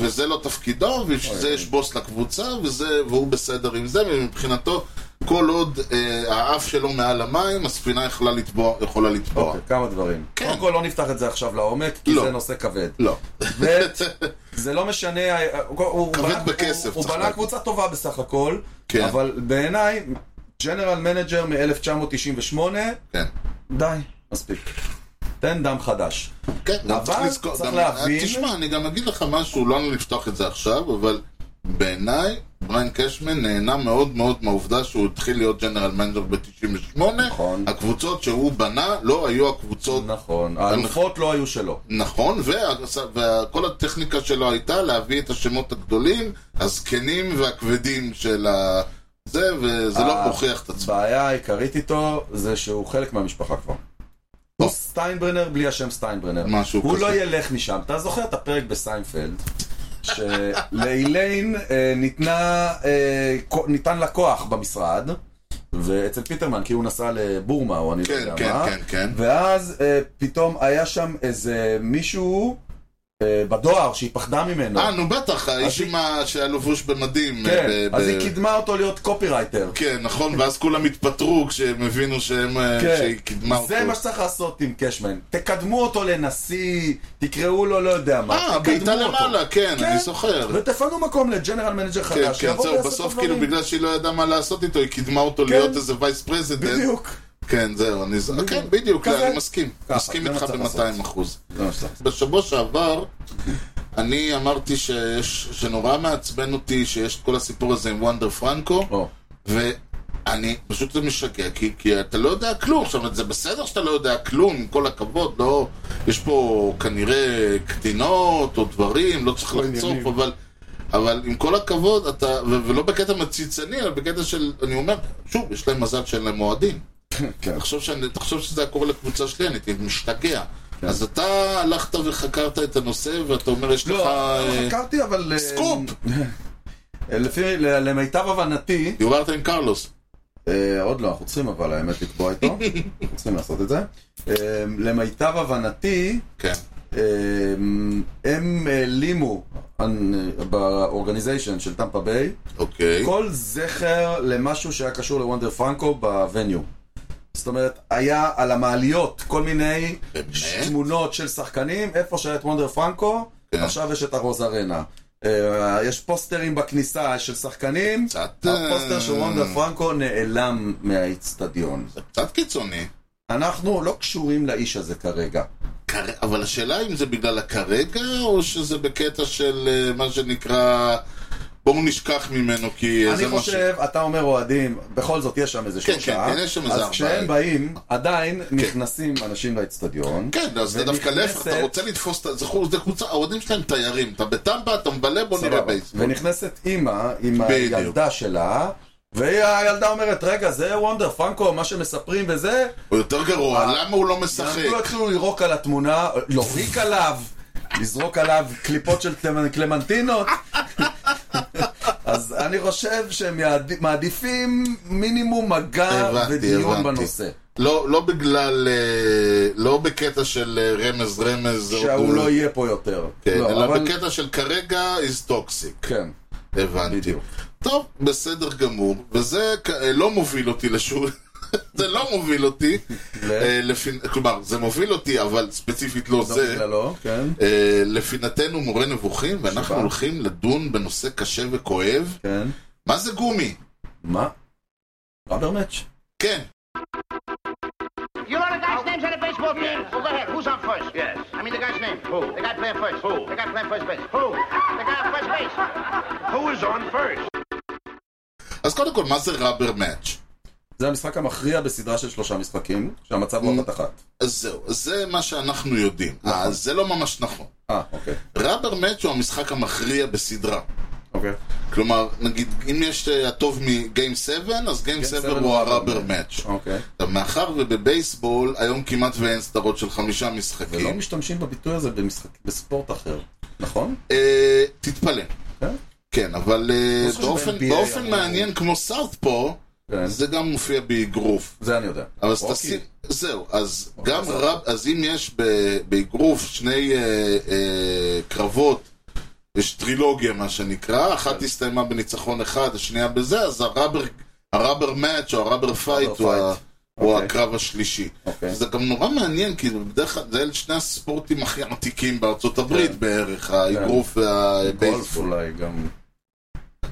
S2: וזה לא תפקידו, ובשביל
S1: אוקיי.
S2: זה יש בוס לקבוצה, וזה- והוא בסדר עם זה, ומבחינתו, כל עוד אה, האף שלו מעל המים, הספינה יכולה לטבוע, יכולה לטבוע.
S1: אוקיי, כמה דברים.
S2: כן.
S1: קודם כל לא נפתח את זה עכשיו לעומק, כי
S2: לא.
S1: זה נושא כבד.
S2: (laughs) לא.
S1: ב', זה לא משנה, הוא- הוא
S2: כבד
S1: בנה-
S2: בכסף,
S1: הוא- הוא
S2: צריך
S1: בנה
S2: להגיד.
S1: קבוצה טובה בסך הכל,
S2: כן.
S1: אבל בעיניי, ג'נרל מנג'ר מ-1998,
S2: כן.
S1: די, מספיק. תן דם חדש.
S2: כן, גם
S1: אבל
S2: צריך לזכור,
S1: צריך
S2: גם-
S1: להבין-
S2: תשמע, אני גם אגיד לך משהו, לא אני לפתוח את זה עכשיו, אבל בעיניי, בריין קשמן נהנה מאוד מאוד מהעובדה שהוא התחיל להיות ג'נרל מנג'ר ב-98.
S1: נכון.
S2: הקבוצות שהוא בנה לא היו הקבוצות...
S1: נכון, האלופות לא היו שלו.
S2: נכון, וכל הטכניקה שלו הייתה להביא את השמות הגדולים, הזקנים והכבדים של ה... זה, וזה לא
S1: אה,
S2: הוכיח את עצמו.
S1: הבעיה העיקרית איתו זה שהוא חלק מהמשפחה כבר. הוא סטיינברנר בלי השם סטיינברנר.
S2: משהו
S1: הוא
S2: כזה.
S1: לא ילך משם. אתה זוכר את הפרק בסיינפלד? שלאיליין אה, ניתנה, אה, כו- ניתן לה כוח במשרד, ואצל פיטרמן, כי הוא נסע לבורמה, או אני לא
S2: כן,
S1: יודע
S2: כן,
S1: מה,
S2: כן, כן.
S1: ואז אה, פתאום היה שם איזה מישהו אה, בדואר שהיא פחדה ממנו.
S2: אה, נו בטח, האיש
S1: היא-
S2: עם ה... שהיה לבוש במדים.
S1: כן,
S2: ב-
S1: אז
S2: ב-
S1: היא קידמה אותו להיות קופירייטר.
S2: כן, נכון, ואז כולם התפטרו כשהם הבינו שהם, אה,
S1: כן.
S2: שהיא קידמה אותו.
S1: זה מה שצריך לעשות עם קשמן. תקדמו אותו לנשיא, תקראו לו לא יודע מה.
S2: אה,
S1: תקדמו
S2: בעיטה
S1: אותו.
S2: למעלה, כן, אני זוכר.
S1: ותפנו מקום לג'נרל מנג'ר
S2: כן,
S1: חדש,
S2: כן,
S1: שיבוא
S2: זהו,
S1: ויעשה
S2: בסוף
S1: את
S2: כאילו
S1: הדברים. כן.
S2: בגלל שהיא לא ידעה מה לעשות איתו, היא קידמה אותו להיות איזה וייס פרזידנט.
S1: בדיוק.
S2: כן, זהו, אני... ז- כן, בדיוק,
S1: כזה.
S2: אני מסכים.
S1: ככה,
S2: מסכים
S1: זה
S2: איתך
S1: מה צריך
S2: ב-200
S1: לעשות.
S2: אחוז. בשבוע שעבר, אני אמרתי שיש- שנורא מעצבן אותי שיש את כל הסיפור הזה עם וונדר פרנקו.
S1: או,
S2: ואני, פשוט זה משגע, כי, כי אתה לא יודע כלום. עכשיו, זה בסדר שאתה לא יודע כלום, עם כל הכבוד, לא... יש פה כנראה קטינות או דברים, לא צריך לחצוף, אבל... אבל עם כל הכבוד, אתה, ו- ולא בקטע מציצני, אלא בקטע של, אני אומר, שוב, יש להם מזל שאין להם אוהדים.
S1: כן.
S2: תחשוב, שאני, תחשוב שזה היה קורה לקבוצה שלי, אני הייתי משתגע.
S1: כן.
S2: אז אתה הלכת וחקרת את הנושא, ואתה אומר, יש לך...
S1: לא,
S2: אה,
S1: חקרתי, אבל... אה,
S2: סקופ!
S1: לפי, ל- למיטב הבנתי,
S2: דיברת עם קרלוס.
S1: אה, עוד לא, אנחנו צריכים אבל האמת לקבוע
S2: (laughs)
S1: איתו, אנחנו צריכים לעשות את זה. אה, למיטב הבנתי,
S2: כן.
S1: אה, הם העלימו באורגניזיישן של טמפה ביי
S2: אוקיי.
S1: כל זכר למשהו שהיה קשור לוונדר פרנקו בווניו. זאת אומרת, היה על המעליות כל מיני
S2: באמת?
S1: תמונות של שחקנים, איפה שהיה את וונדר פרנקו,
S2: כן.
S1: עכשיו יש את הרוז ארנה. אה, יש פוסטרים בכניסה של שחקנים,
S2: קצת... אה,
S1: הפוסטר של וונדר פרנקו נעלם מהאיצטדיון.
S2: זה קצת קיצוני.
S1: אנחנו לא קשורים לאיש הזה כרגע.
S2: כר- אבל השאלה אם זה בגלל הכרגע, או שזה בקטע של אה, מה שנקרא... בואו נשכח ממנו, כי אה, זה
S1: אני
S2: מה ש-
S1: חושב, אתה אומר אוהדים, בכל זאת יש שם איזה
S2: כן,
S1: שלושה,
S2: כן, כן, יש שם איזה
S1: אז
S2: ארבעה.
S1: כשהם באים, עדיין נכנסים אנשים לאצטדיון.
S2: כן, אז זה דווקא להפך, אתה
S1: ונכנסת-
S2: רוצה לתפוס את ה... זה חוץ- זה קבוצה, האוהדים שלהם תיירים. אתה בטמבה, אתה מבלה, בוא נראה
S1: סבבה.
S2: בייסבול.
S1: ונכנסת אימא עם
S2: בדיוק.
S1: הילדה שלה, והילדה אומרת, רגע, זה וונדר פרנקו, מה שמספרים וזה,
S2: הוא יותר גרוע,
S1: אה,
S2: למה הוא לא
S1: אנחנו
S2: משחק?
S1: התחילו לירוק על התמונה, להוריק עליו, לזרוק עליו קליפות של קלמנ- קלמנטינות. (laughs) אז אני חושב שהם יעד- מעדיפים מינימום מגע
S2: הבנתי,
S1: ודיון
S2: הבנתי.
S1: בנושא.
S2: לא לא בגלל, אה, לא בקטע של אה, רמז רמז, או
S1: שהוא
S2: דו-
S1: לא יהיה פה יותר.
S2: כן,
S1: לא,
S2: אלא
S1: אבל-
S2: בקטע של כרגע is toxic.
S1: כן.
S2: הבנתי.
S1: בדיוק.
S2: טוב, בסדר גמור, וזה כ- אה, לא מוביל אותי לשום... (laughs) זה לא מוביל אותי,
S1: ל-
S2: אה, לפי- כלומר, זה מוביל אותי, אבל ספציפית לא
S1: לא
S2: זה.
S1: בגללו, כן.
S2: אה, לפינתנו מורה נבוכים, ואנחנו
S1: שבא.
S2: הולכים לדון בנושא קשה וכואב.
S1: כן.
S2: מה זה גומי?
S1: מה? רבר מאץ'.
S2: כן,
S6: You know the guy's names on the baseball team? Well, go ahead. Who's on first? Yes. I mean the guy's name. Who? The guy playing first. Who? The guy playing first base. Who? The guy on first base. Who is on first?
S2: אז קודם כל, מה זה rubber match?
S1: זה המשחק המכריע בסדרה של שלושה משחקים, שהמצב הוא
S2: Mm.
S1: אחת אחת.
S2: אז זהו, אז זה מה שאנחנו יודעים. אה, זה לא ממש נכון.
S1: אה, אוקיי.
S2: rubber match הוא המשחק המכריע בסדרה.
S1: אוקיי.
S2: כלומר, נגיד, אם יש אה, הטוב מגיים 7, אז גיים 7
S1: 7
S2: הוא
S1: הוא
S2: הראבר
S1: rubber
S2: מאץ'.
S1: אוקיי.
S2: עכשיו, מאחר ובבייסבול היום כמעט ואין סדרות של חמישה
S1: ולא
S2: משחקים,
S1: משתמשים בביטוי הזה במשחק, בספורט אחר, נכון?
S2: אה, תתפלא.
S1: כן?
S2: כן, אבל אה,
S1: לא זוכר
S2: באופן-
S1: שב-NBA
S2: באופן
S1: אמרו.
S2: מעניין כמו סאוטפו,
S1: כן.
S2: זה גם מופיע באגרוף.
S1: זה אני יודע.
S2: אבל אז
S1: רוקי.
S2: תשים, זהו, אז גם
S1: בסדר.
S2: רב, אז אם יש ב- באגרוף שני אה, אה, קרבות, יש טרילוגיה מה שנקרא,
S1: כן.
S2: אחת הסתיימה בניצחון אחד, השנייה בזה, אז הרבר, הרבר מאץ' או הרבר פייט הוא, ה-
S1: fight.
S2: הוא
S1: אוקיי.
S2: הקרב השלישי.
S1: אוקיי.
S2: זה גם נורא מעניין, כי בדרך כלל זה אלה שני הספורטים הכי עתיקים בארצות הברית בערך, האגרוף
S1: כן. גולף
S2: והבייסבול.
S1: אולי גם.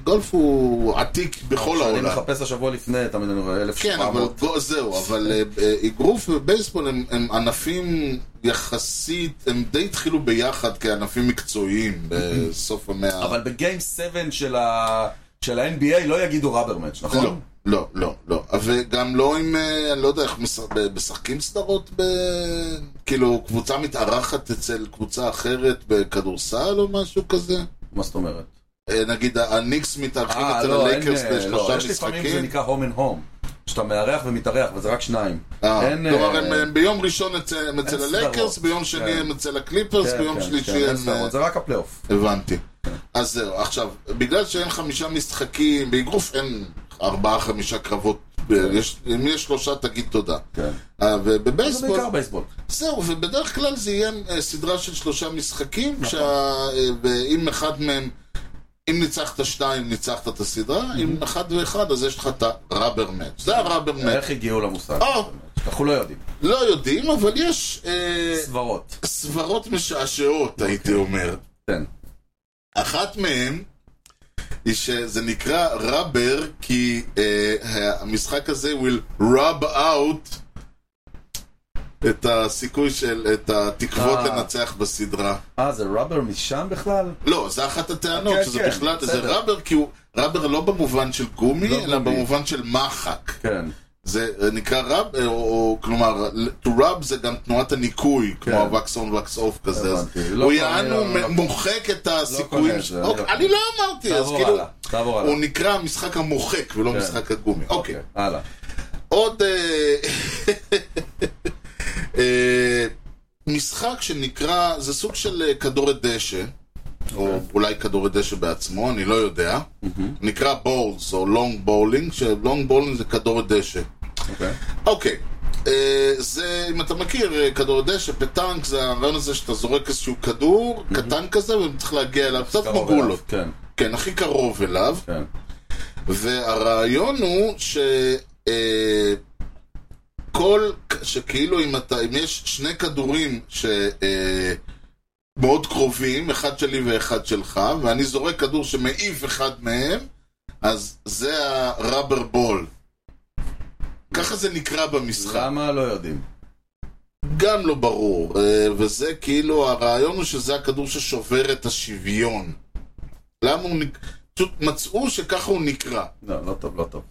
S2: גולף הוא עתיק בכל
S1: כשאני
S2: העולם.
S1: מחפש השבוע לפני, תמיד אני רואה 1700.
S2: כן, אבל בוא- זהו, אבל אה, אה, אגרוף ובייסבול הם- הם ענפים יחסית, הם די התחילו ביחד כענפים מקצועיים בסוף המאה...
S1: Mhm. אבל בגיים 7 של ה... של ה-NBA לא יגידו ראבר מאץ',
S2: לא,
S1: נכון?
S2: לא, לא, לא. וגם לא עם, אה, אני לא יודע איך מש- ב- משחקים סדרות ב... כאילו, קבוצה מתארחת אצל קבוצה אחרת בכדורסל או משהו כזה?
S1: מה זאת אומרת?
S2: אה, נגיד הניקס מתארחים
S1: אה,
S2: אצל
S1: לא, אין...
S2: הלייקרס
S1: אה, לא,
S2: בשלושה
S1: יש לפעמים זה
S2: משחקים.
S1: נקרא הום אנד הום. שאתה מארח ומתארח, וזה רק שניים.
S2: אה,
S1: אין,
S2: כלומר,
S1: אה,
S2: הם- הם ביום ראשון אצל- הם אצל
S1: סדרות.
S2: הלייקרס, ביום שני
S1: כן.
S2: הם אצל הקליפרס,
S1: כן,
S2: ביום
S1: כן,
S2: שלישי
S1: כן, אין
S2: הם... אה,
S1: סדרות, זה רק הפלייאוף.
S2: הבנתי. אז זהו, עכשיו, בגלל שאין חמישה משחקים, באגרוף אין ארבעה, חמישה קרבות, יש- אם יש שלושה תגיד תודה.
S1: כן.
S2: אה,
S1: זה
S2: ובבייסבול,
S1: בעיקר בייסבול.
S2: זהו, ובדרך כלל זה יהיה אה, סדרה של שלושה
S1: נכון.
S2: משחקים, כשאם אחד מהם, אם ניצחת שניים, ניצחת את הסדרה, אם אחד ואחד, אז יש לך את הראבר מאץ'. זה הראבר מאץ'.
S1: איך הגיעו למושג?
S2: או,
S1: אנחנו לא יודעים.
S2: לא יודעים, אבל יש אה,
S1: סברות.
S2: סברות משעשעות, הייתי אומר.
S1: כן.
S2: אחת מהן היא שזה נקרא רבר כי אה, המשחק הזה will rub out את הסיכוי של, את התקוות
S1: אה.
S2: לנצח בסדרה.
S1: אה, זה ראבר משם בכלל?
S2: לא, זה אחת הטענות,
S1: כן,
S2: שזה
S1: כן,
S2: בכלל, זה
S1: בסדר.
S2: רבר כי הוא, רבר לא במובן של גומי,
S1: לא
S2: אלא
S1: גומי.
S2: במובן של מחק.
S1: כן.
S2: זה אה, נקרא רב, אה, או, או כלומר, to rub זה גם תנועת הניקוי, כמו ה-wax on wax off כזה. אז
S1: כן. הבנתי. לא
S2: הוא
S1: קונה,
S2: יענו
S1: לא, לא.
S2: מוחק את
S1: קונה
S2: הסיכויים.
S1: את זה,
S2: אוקיי,
S1: אני לא
S2: אני לא אמרתי, אז
S1: תעבור
S2: כאילו,
S1: הלאה. תעבור
S2: הוא
S1: הלאה.
S2: נקרא המשחק המוחק ולא
S1: כן.
S2: משחק הגומי. אוקיי.
S1: הלאה.
S2: או עוד אה, (laughs) אה, משחק שנקרא, זה סוג של אה, כדורת דשא,
S1: אוקיי.
S2: או אולי כדורת דשא בעצמו, אני לא יודע. נקרא בולס, או לונג בולינג, שלונג בולינג זה כדורת דשא.
S1: אוקיי.
S2: אוקיי. אה, זה, אם אתה מכיר, אה, כדור דשא, פטנק, זה הרעיון הזה שאתה זורק איזשהו כדור קטן כזה, וצריך להגיע אליו, קצת כמו
S1: קרוב אליו,
S2: גולות.
S1: כן,
S2: כן, הכי קרוב אליו.
S1: כן.
S2: אה. והרעיון הוא ש... אה, כל... שכאילו אם אתה... אם יש שני כדורים ש... אה, מאוד קרובים, אחד שלי ואחד שלך, ואני זורק כדור שמעיף אחד מהם, אז זה הראבר בול. ככה זה נקרא במשחק.
S1: למה לא יודעים?
S2: גם לא ברור, אה, וזה כאילו, הרעיון הוא שזה הכדור ששובר את השוויון. למה הוא נק... פשוט מצאו שככה הוא נקרא.
S1: לא, לא טוב, לא טוב.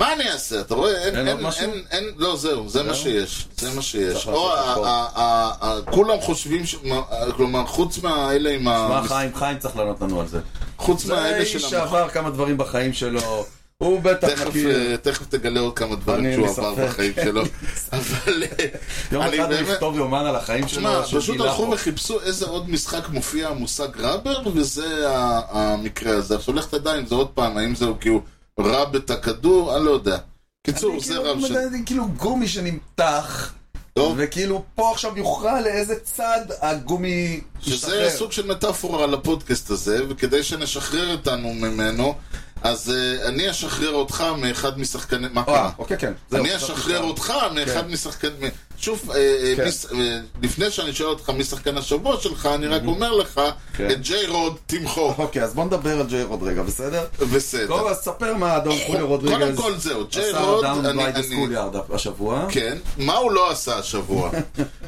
S2: מה אני אעשה? אתה רואה? אין, אין,
S1: אין עוד
S2: אין,
S1: משהו?
S2: אין, אין, לא, זהו, זה מה שיש. זה מה שיש.
S1: צריך
S2: או,
S1: לעשות
S2: ה-
S1: הכל.
S2: ה- ה- ה- כולם חושבים, ש- מה- כלומר, חוץ מהאלה עם ה...
S1: מה חיים? חיים צריך לענות לנו על זה.
S2: חוץ
S1: זה
S2: מהאלה
S1: איש
S2: של המחשב.
S1: שעבר כמה דברים בחיים שלו. הוא בטח
S2: תכף,
S1: מכיר.
S2: אה, תכף תגלה עוד כמה דברים
S1: כאילו- אני
S2: שהוא עבר
S1: מספק.
S2: בחיים שלו. (laughs) אבל אה,
S1: יום
S2: אני
S1: אחד הוא
S2: באמת-
S1: יכתוב יומן על החיים שלו.
S2: תשמע,
S1: שהוא
S2: פשוט
S1: גילה
S2: הלכו
S1: פה.
S2: וחיפשו איזה עוד משחק מופיע המושג ראבר, וזה ה- המקרה הזה. עכשיו לך תדע אם זה עוד פעם, האם זה הוא כאילו רב את הכדור, אני לא יודע. קיצור,
S1: אני
S2: זה
S1: כאילו
S2: רב של...
S1: מדד- כאילו גומי שנמתח,
S2: טוב.
S1: וכאילו פה עכשיו יוכרע לאיזה צד הגומי
S2: שזה
S1: משתחרר.
S2: סוג של מטאפורה לפודקאסט הזה, וכדי שנשחרר אותנו ממנו, אז אה, אני אשחרר אותך מאחד משחקני... מה
S1: אה,
S2: קרה?
S1: אוקיי, כן. זהו,
S2: אני
S1: חשבתי
S2: אשחרר
S1: שאתה-
S2: אותך מאחד משחקני... שוב, אה,
S1: כן.
S2: אה, מס- אה, לפני שאני שואל אותך מי שחקן השבוע שלך, אני רק אומר לך,
S1: כן.
S2: את ג'יי רוד
S1: (laughs)
S2: תמחוק.
S1: אוקיי, אז בוא נדבר על ג'יי רודריגה, בסדר?
S2: בסדר. אה,
S1: טוב, אז תספר מה אדון חולי רודריגז.
S2: קודם כל זהו, ג'יי
S1: עשה
S2: רוד,
S1: אדם
S2: אני...
S1: ביידס
S2: אני-
S1: קוליארד השבוע.
S2: כן, מה הוא לא עשה השבוע?
S1: (laughs)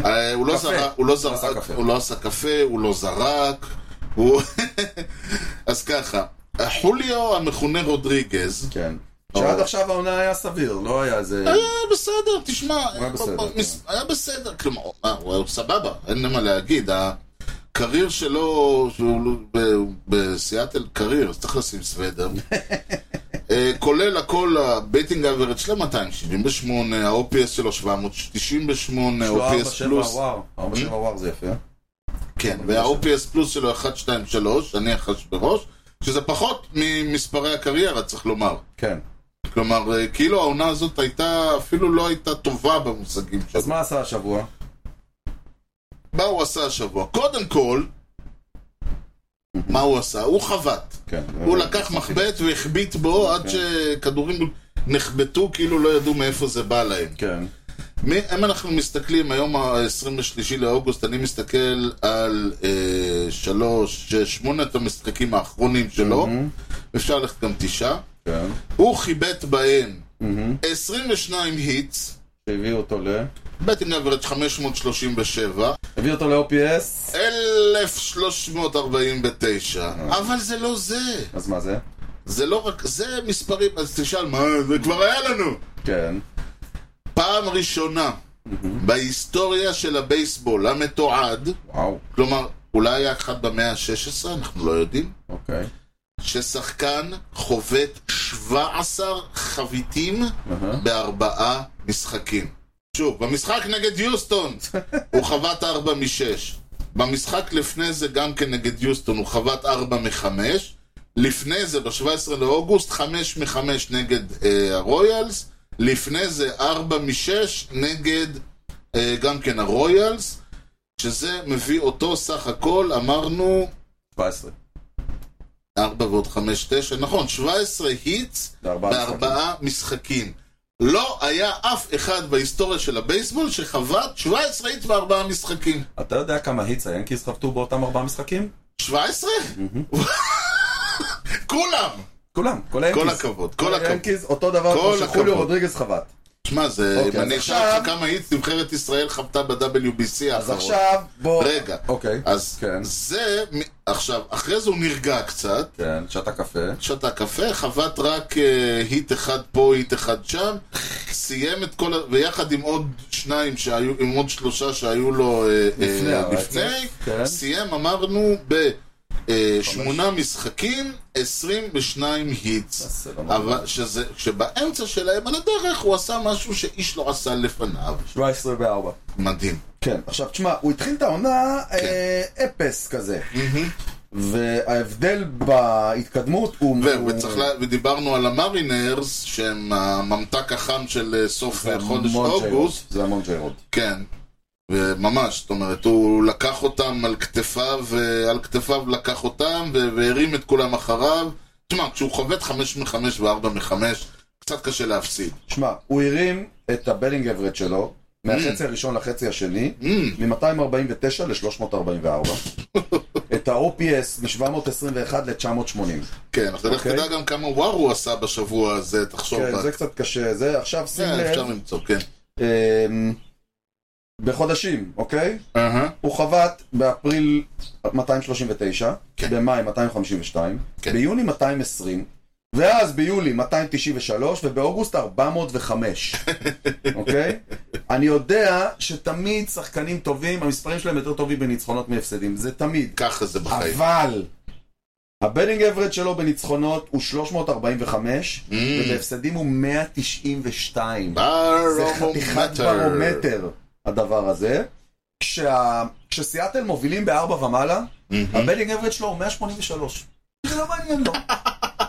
S2: אה, הוא לא
S1: קפה.
S2: זרק, הוא לא
S1: עשה
S2: זרק,
S1: קפה.
S2: הוא לא עשה קפה, הוא לא זרק, הוא... (laughs) אז ככה, אה, חוליו המכונה רודריגז,
S1: כן.
S2: או. אה,
S1: שעד עכשיו העונה היה סביר, לא היה איזה...
S2: היה בסדר, תשמע,
S1: היה בסדר,
S2: הוא-
S1: כן.
S2: היה בסדר, כלומר, אה, הוא היה סבבה, אין לי מה להגיד, הקרייר שלו, שהוא לא- ב- בסיאטל קרייר, אז צריך לשים
S1: (laughs)
S2: סוודר. אה, כולל הכל, הבייטינג אברג' שלו 278, ה-OPS שלו 798,
S1: שהוא ארבע,
S2: ה-OPS
S1: שבע,
S2: פלוס. אה?
S1: וואו. 4 7 וואו זה יפה.
S2: כן, וה-OPS פלוס שלו 1, 2, 3, אני אחש בראש, שזה פחות ממספרי הקריירה, צריך לומר.
S1: כן.
S2: כלומר, אה, כאילו העונה הזאת הייתה, אפילו לא הייתה טובה במושגים שלו.
S1: אז מה עשה השבוע?
S2: מה הוא עשה השבוע? קודם כל, מה הוא עשה? הוא חבט.
S1: כן.
S2: הוא לקח מחבט והחביט בו עד שכדורים נחבטו, כאילו לא ידעו מאיפה זה בא להם.
S1: כן.
S2: מ- אם אנחנו מסתכלים, היום ה-23 לאוגוסט, אני מסתכל על אה, שלוש, שש, שמונת המשחקים האחרונים שלו, אפשר ללכת גם תשעה.
S1: כן.
S2: הוא חיבט בהם 22 היטס,
S1: שהביא אותו ל...
S2: בטינג אברג' 537,
S1: הביא אותו ל-OPS.
S2: 1349. אבל זה לא זה.
S1: אז מה זה?
S2: זה לא רק, זה מספרים, אז תשאל, מה, זה כבר היה לנו.
S1: כן.
S2: פעם ראשונה בהיסטוריה של הבייסבול המתועד,
S1: וואו.
S2: כלומר, אולי היה אחד במאה ה-16, אנחנו לא יודעים,
S1: אוקיי.
S2: ששחקן חובט 17 חביתים
S1: אהה.
S2: בארבעה משחקים. שוב, במשחק נגד יוסטון הוא חבט 4 מ-6. במשחק לפני זה גם כן נגד יוסטון הוא חבט 4 מ-5. לפני זה, ב-17 לאוגוסט, 5 מ-5 נגד אה, הרויאלס. לפני זה 4 מ-6 נגד אה, גם כן הרויאלס. שזה מביא אותו סך הכל, אמרנו,
S1: 17.
S2: 4 ועוד 5, 9, נכון, 17 היטס
S1: בארבעה
S2: בארבעה משחקים. לא היה אף אחד בהיסטוריה של הבייסבול שחבט 17 היטס בארבעה משחקים.
S1: אתה יודע כמה היטס היאנקיז חבטו באותם ארבעה משחקים? (laughs)
S2: 17? כולם!
S1: כולם, כל היאנקיז.
S2: כל הכבוד, כל הכבוד.
S1: היאנקיז אותו דבר
S2: כל
S1: כמו שחוליו
S2: הכבוד.
S1: רודריגז חבט.
S2: שמע, זה,
S1: אוקיי,
S2: אם
S1: אז
S2: אני
S1: עכשיו-
S2: אשאל אותך כמה היטס נבחרת ישראל חבטה ב-WBC
S1: אז
S2: האחרון.
S1: עכשיו בוא...
S2: רגע.
S1: אוקיי.
S2: אז
S1: כן.
S2: זה, מ- עכשיו, אחרי זה הוא נרגע קצת.
S1: כן, שתה קפה.
S2: שתה קפה, חבט רק אה, היט אחד פה, היט אחד שם, סיים את כל ה... ויחד עם עוד שניים שהיו, עם עוד שלושה שהיו לו אה,
S1: לפני
S2: אה,
S1: הרצף,
S2: לפני
S1: כן.
S2: סיים, אמרנו, ב... אה, שמונה משחקים, 22 היטס.
S1: זה לא נורא.
S2: אבל שזה, כשבאמצע שלהם על הדרך הוא עשה משהו שאיש לא עשה לפניו.
S1: 17 ו-4.
S2: מדהים.
S1: כן, עכשיו תשמע, הוא התחיל את העונה
S2: כן.
S1: אה, אפס כזה. וההבדל בהתקדמות הוא...
S2: ו-
S1: הוא-
S2: וצריך לה... ודיברנו על המרינרס, שהם הממתק החם של אה, סוף
S1: זה
S2: אה,
S1: המון
S2: חודש
S1: ג'יירוד,
S2: אוגוסט.
S1: זה המון ג'יירוד.
S2: כן. וממש, זאת אומרת, הוא לקח אותם על כתפיו, אה, על כתפיו לקח אותם, ו- והרים את כולם אחריו. תשמע, כשהוא חובט חמש מחמש וארבע מחמש, קצת קשה להפסיד.
S1: שמע, הוא הרים את הבלינג אברד שלו מהחצי הראשון לחצי השני,
S2: Mm.
S1: מ-249
S2: (laughs)
S1: ל-344. את ה-OPS מ-721 ל-980.
S2: כן, אבל לך
S1: אוקיי.
S2: תדע גם כמה וואר הוא עשה בשבוע הזה, תחשוב.
S1: כן,
S2: רק.
S1: זה קצת קשה. זה עכשיו שים
S2: כן, אפשר
S1: לב,
S2: למצוא, כן.
S1: אמ, בחודשים, אוקיי?
S2: אהה.
S1: הוא חבט באפריל 239,
S2: כן.
S1: במאי 252,
S2: כן.
S1: ביוני 220, ואז ביולי 293,
S2: (laughs)
S1: ובאוגוסט 405, אוקיי? אני יודע שתמיד שחקנים טובים, המספרים שלהם יותר טובים בניצחונות מהפסדים, זה תמיד.
S2: ככה זה בחיים.
S1: אבל, הבדינג אברד שלו בניצחונות הוא 345,
S2: Mm.
S1: ובהפסדים הוא 192. זה
S2: לא
S1: חתיכת ברומטר, הדבר הזה. כשה... כשסיאטל מובילים בארבע ומעלה, הבדינג אברד שלו הוא 183. זה לא מעניין לו.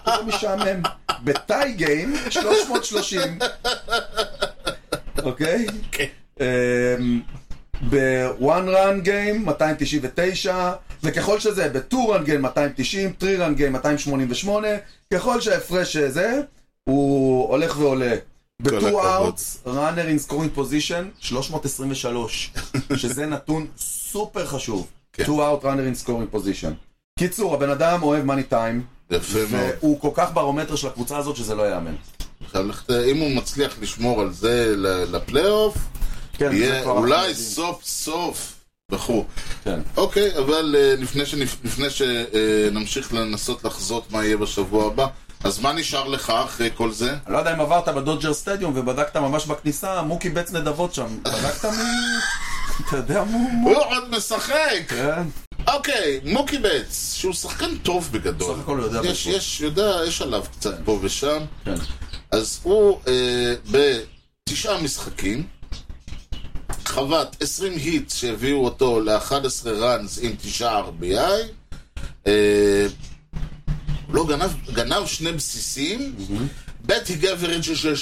S1: זה משעמם. בטאי גיים, 330. אוקיי?
S2: כן.
S1: אמ, ב-one run game 299, וככל שזה ב-two run game 290, three run game 288, ככל שההפרש זה, הוא הולך ועולה. ב-two
S2: הכבוד.
S1: outs, runner in scoring position
S2: (laughs)
S1: 323, שזה נתון סופר חשוב.
S2: כן.
S1: two out runner in scoring position. קיצור, הבן אדם אוהב מאני טיים,
S2: יפה מאוד.
S1: והוא כל כך ברומטר של הקבוצה הזאת שזה לא ייאמן.
S2: עכשיו, לך ת- אם הוא מצליח לשמור על זה ל- לפלייאוף,
S1: כן, זה
S2: יהיה
S1: כבר אנחנו
S2: אולי
S1: יודעים.
S2: סוף סוף בחור.
S1: כן.
S2: אוקיי, אבל אה, לפני שנפ- לפני שנמשיך לנסות לחזות מה יהיה בשבוע הבא, אז מה נשאר לך אחרי כל זה?
S1: אני לא יודע אם עברת בדודג'ר סטדיום ובדקת ממש בכניסה, מוקי בץ נדבות שם. בדקת מי... (laughs) אתה יודע מו... מו-
S2: הוא עוד משחק!
S1: כן.
S2: אוקיי, מוקי בץ, שהוא שחקן טוב בגדול.
S1: בסך הכל הוא יודע
S2: יש,
S1: בייסבול.
S2: יש, יודע, יש עליו קצת פה ושם.
S1: כן.
S2: אז הוא אה, בתשעה משחקים, חבט 20 היט שהביאו אותו ל-11 ראנס עם תשעה RBI. אה, הוא לא גנב, גנב שני בסיסים. בטי גברד של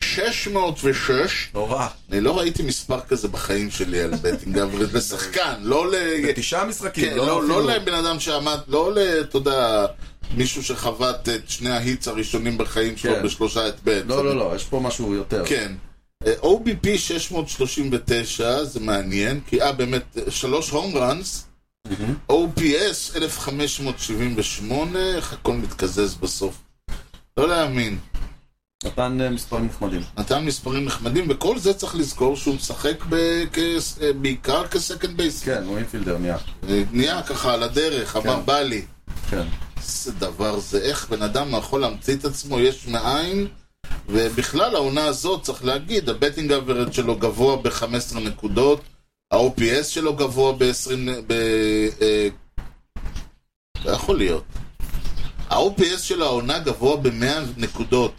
S2: 606.
S1: נורא.
S2: אני לא ראיתי מספר כזה בחיים שלי על בטינג אברד לשחקן, לא ל...
S1: תשעה משחקים.
S2: כן, לא,
S1: אפילו-
S2: לא לבן אדם שעמד, לא ל... אתה יודע, מישהו שחבט את שני ההיטס הראשונים בחיים שלו
S1: כן.
S2: בשלושה את ב'.
S1: לא, לא, לא, יש פה משהו יותר.
S2: כן. אה, OBP 639, זה מעניין, כי אה באמת, אה, שלוש הום ראנס,
S1: Mm-hmm.
S2: OPS 1578, איך הכל מתקזז בסוף. לא להאמין.
S1: נתן אה, מספרים נחמדים.
S2: נתן מספרים נחמדים, וכל זה צריך לזכור שהוא משחק ב- כ- בעיקר כסקנד בייס.
S1: כן, הוא אינפילדר נהיה.
S2: נהיה ככה על הדרך, אמר
S1: כן.
S2: בא לי.
S1: כן.
S2: איזה דבר זה, איך בן אדם יכול להמציא את עצמו יש מאין? ובכלל העונה הזאת, צריך להגיד, הבטינג אברד שלו גבוה ב-15 נקודות, ה-OPS שלו גבוה ב-20... ב... אה, לא יכול להיות. ה-OPS של העונה גבוה ב-100 נקודות.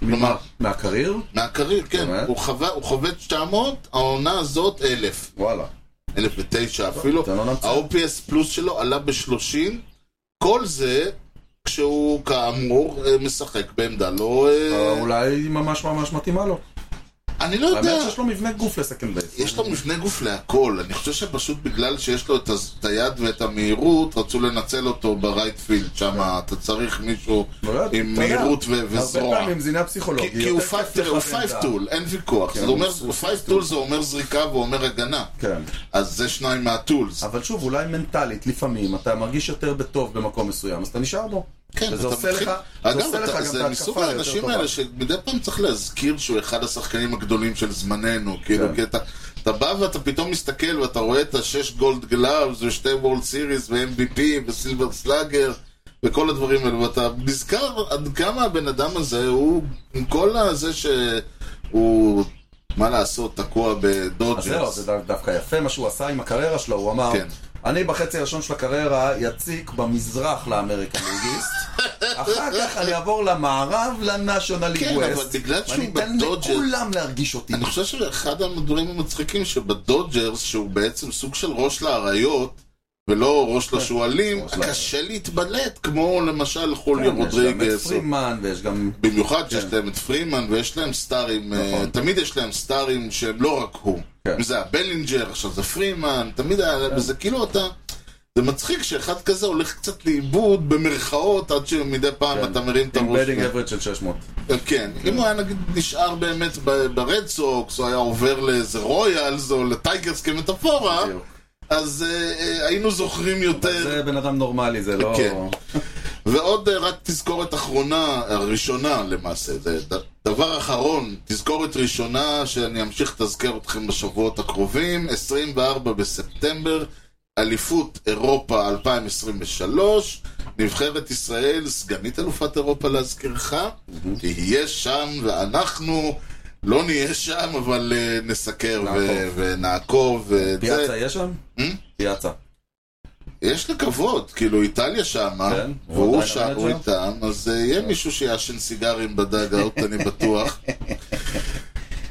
S2: כלומר,
S1: מהקרייר?
S2: מהקרייר, כן.
S1: באמת?
S2: הוא חווה- הוא חובט 900, העונה הזאת 1,000.
S1: וואלה.
S2: 1,009 אפילו.
S1: אתה לא נמצא.
S2: ה-OPS פלוס שלו עלה ב-30. כל זה כשהוא כאמור אה, משחק בעמדה לא... אה,
S1: אה, אולי היא ממש ממש מתאימה לו.
S2: אני לא יודע.
S1: אה, האמת שיש לו מבנה גוף לסקנד בייס.
S2: יש לו מבנה גוף להכל. אני חושב שפשוט בגלל שיש לו את הז- את היד ואת המהירות, רצו לנצל אותו ברייטפילד שם. אתה צריך מישהו
S1: כן. לא יודע,
S2: עם
S1: אתה יודע,
S2: מהירות ו-
S1: הרבה
S2: וזרוע.
S1: פעמים זה עניין פסיכולוגי.
S2: כי- כי
S1: יותר
S2: הוא
S1: כיף
S2: פייב
S1: לך
S2: הוא
S1: בעמדה.
S2: פייב טול, אין ויכוח.
S1: כן,
S2: זה
S1: הוא
S2: אומר,
S1: הוא
S2: פייב
S1: five
S2: טול
S1: tool.
S2: זה אומר זריקה ואומר הגנה.
S1: כן.
S2: אז זה שניים מהטולס.
S1: אבל שוב, אולי מנטלית, לפעמים אתה מרגיש יותר בטוב במקום מסוים, אז אתה נשאר בו.
S2: כן, אתה
S1: וזה עושה
S2: מתחיל-
S1: לך- זה
S2: אגב,
S1: עושה
S2: אתה-
S1: לך גם את
S2: זה
S1: ההתקפה
S2: מסוג
S1: היותר
S2: האנשים
S1: טובה.
S2: האלה שמדי פעם צריך להזכיר שהוא אחד השחקנים הגדולים של זמננו. כאילו,
S1: כן.
S2: כי אתה... אתה בא ואתה פתאום מסתכל ואתה רואה את השש גולד גלאבס ושתי וולד סיריס ו-MVP וסילבר סלאגר וכל הדברים האלה ואתה נזכר עד כמה הבן אדם הזה הוא עם כל הזה שהוא מה לעשות תקוע
S1: אז זהו,
S2: בדודג'רס.
S1: זה דו- דווקא יפה מה שהוא עשה עם הקריירה שלו, הוא אמר,
S2: כן.
S1: אני בחצי הראשון של הקריירה יציק במזרח לאמריקן ליגיסט, אחר כך אני אעבור למערב לנאשונל ליג
S2: כן,
S1: ווסט.
S2: אבל בגלל שהוא
S1: ואני אתן
S2: בדודג'רס-
S1: לכולם להרגיש אותי.
S2: אני חושב שאחד הדברים המצחיקים שבדודג'רס, שהוא בעצם סוג של ראש לאריות, ולא ראש לשועלים,
S1: כן. ראש לאריות. כן,
S2: קשה להתבלט, כמו למשל חוליו
S1: יש גם את
S2: רודריגס. או-
S1: פרימן ויש גם...
S2: במיוחד שיש להם את פרימן ויש להם סטארים, אה,
S1: נכון.
S2: תמיד יש להם סטארים שהם לא רק הוא.
S1: כן.
S2: אם זה הבלינג'ר, עכשיו זה פרימן, תמיד היה, זה כאילו אתה... זה מצחיק שאחד כזה הולך קצת לאיבוד במרכאות עד שמדי פעם
S1: כן.
S2: אתה מרים את
S1: עם
S2: הראש.
S1: בדינג אברד של 600.
S2: כן, אם הוא היה נגיד נשאר באמת ב- ברד סוקס, או היה עובר לאיזה רויאלס או לטייגרס כמטאפורה,
S1: בדיוק.
S2: אז אה, אה, היינו זוכרים יותר.
S1: זה בן אדם נורמלי, זה לא...
S2: כן. ועוד אה, רק תזכורת אחרונה, הראשונה למעשה, זה ד- דבר אחרון, תזכורת ראשונה שאני אמשיך לתזכר אתכם בשבועות הקרובים, 24 בספטמבר, אליפות אירופה 2023, נבחרת ישראל, סגנית אלופת אירופה להזכירך, תהיה שם ואנחנו לא נהיה שם, אבל אה, נסקר
S1: נעקוב.
S2: ו- ונעקוב. ואת זה.
S1: פיאצה יש שם?
S2: Hmm?
S1: פיאצה.
S2: יש לקוות, כאילו איטליה שמה,
S1: כן, הוא
S2: והוא
S1: עדיין
S2: שם,
S1: המנג'ר?
S2: הוא איתם, אז אה, יהיה מישהו שיעשן סיגרים בדאגאוט, אני בטוח.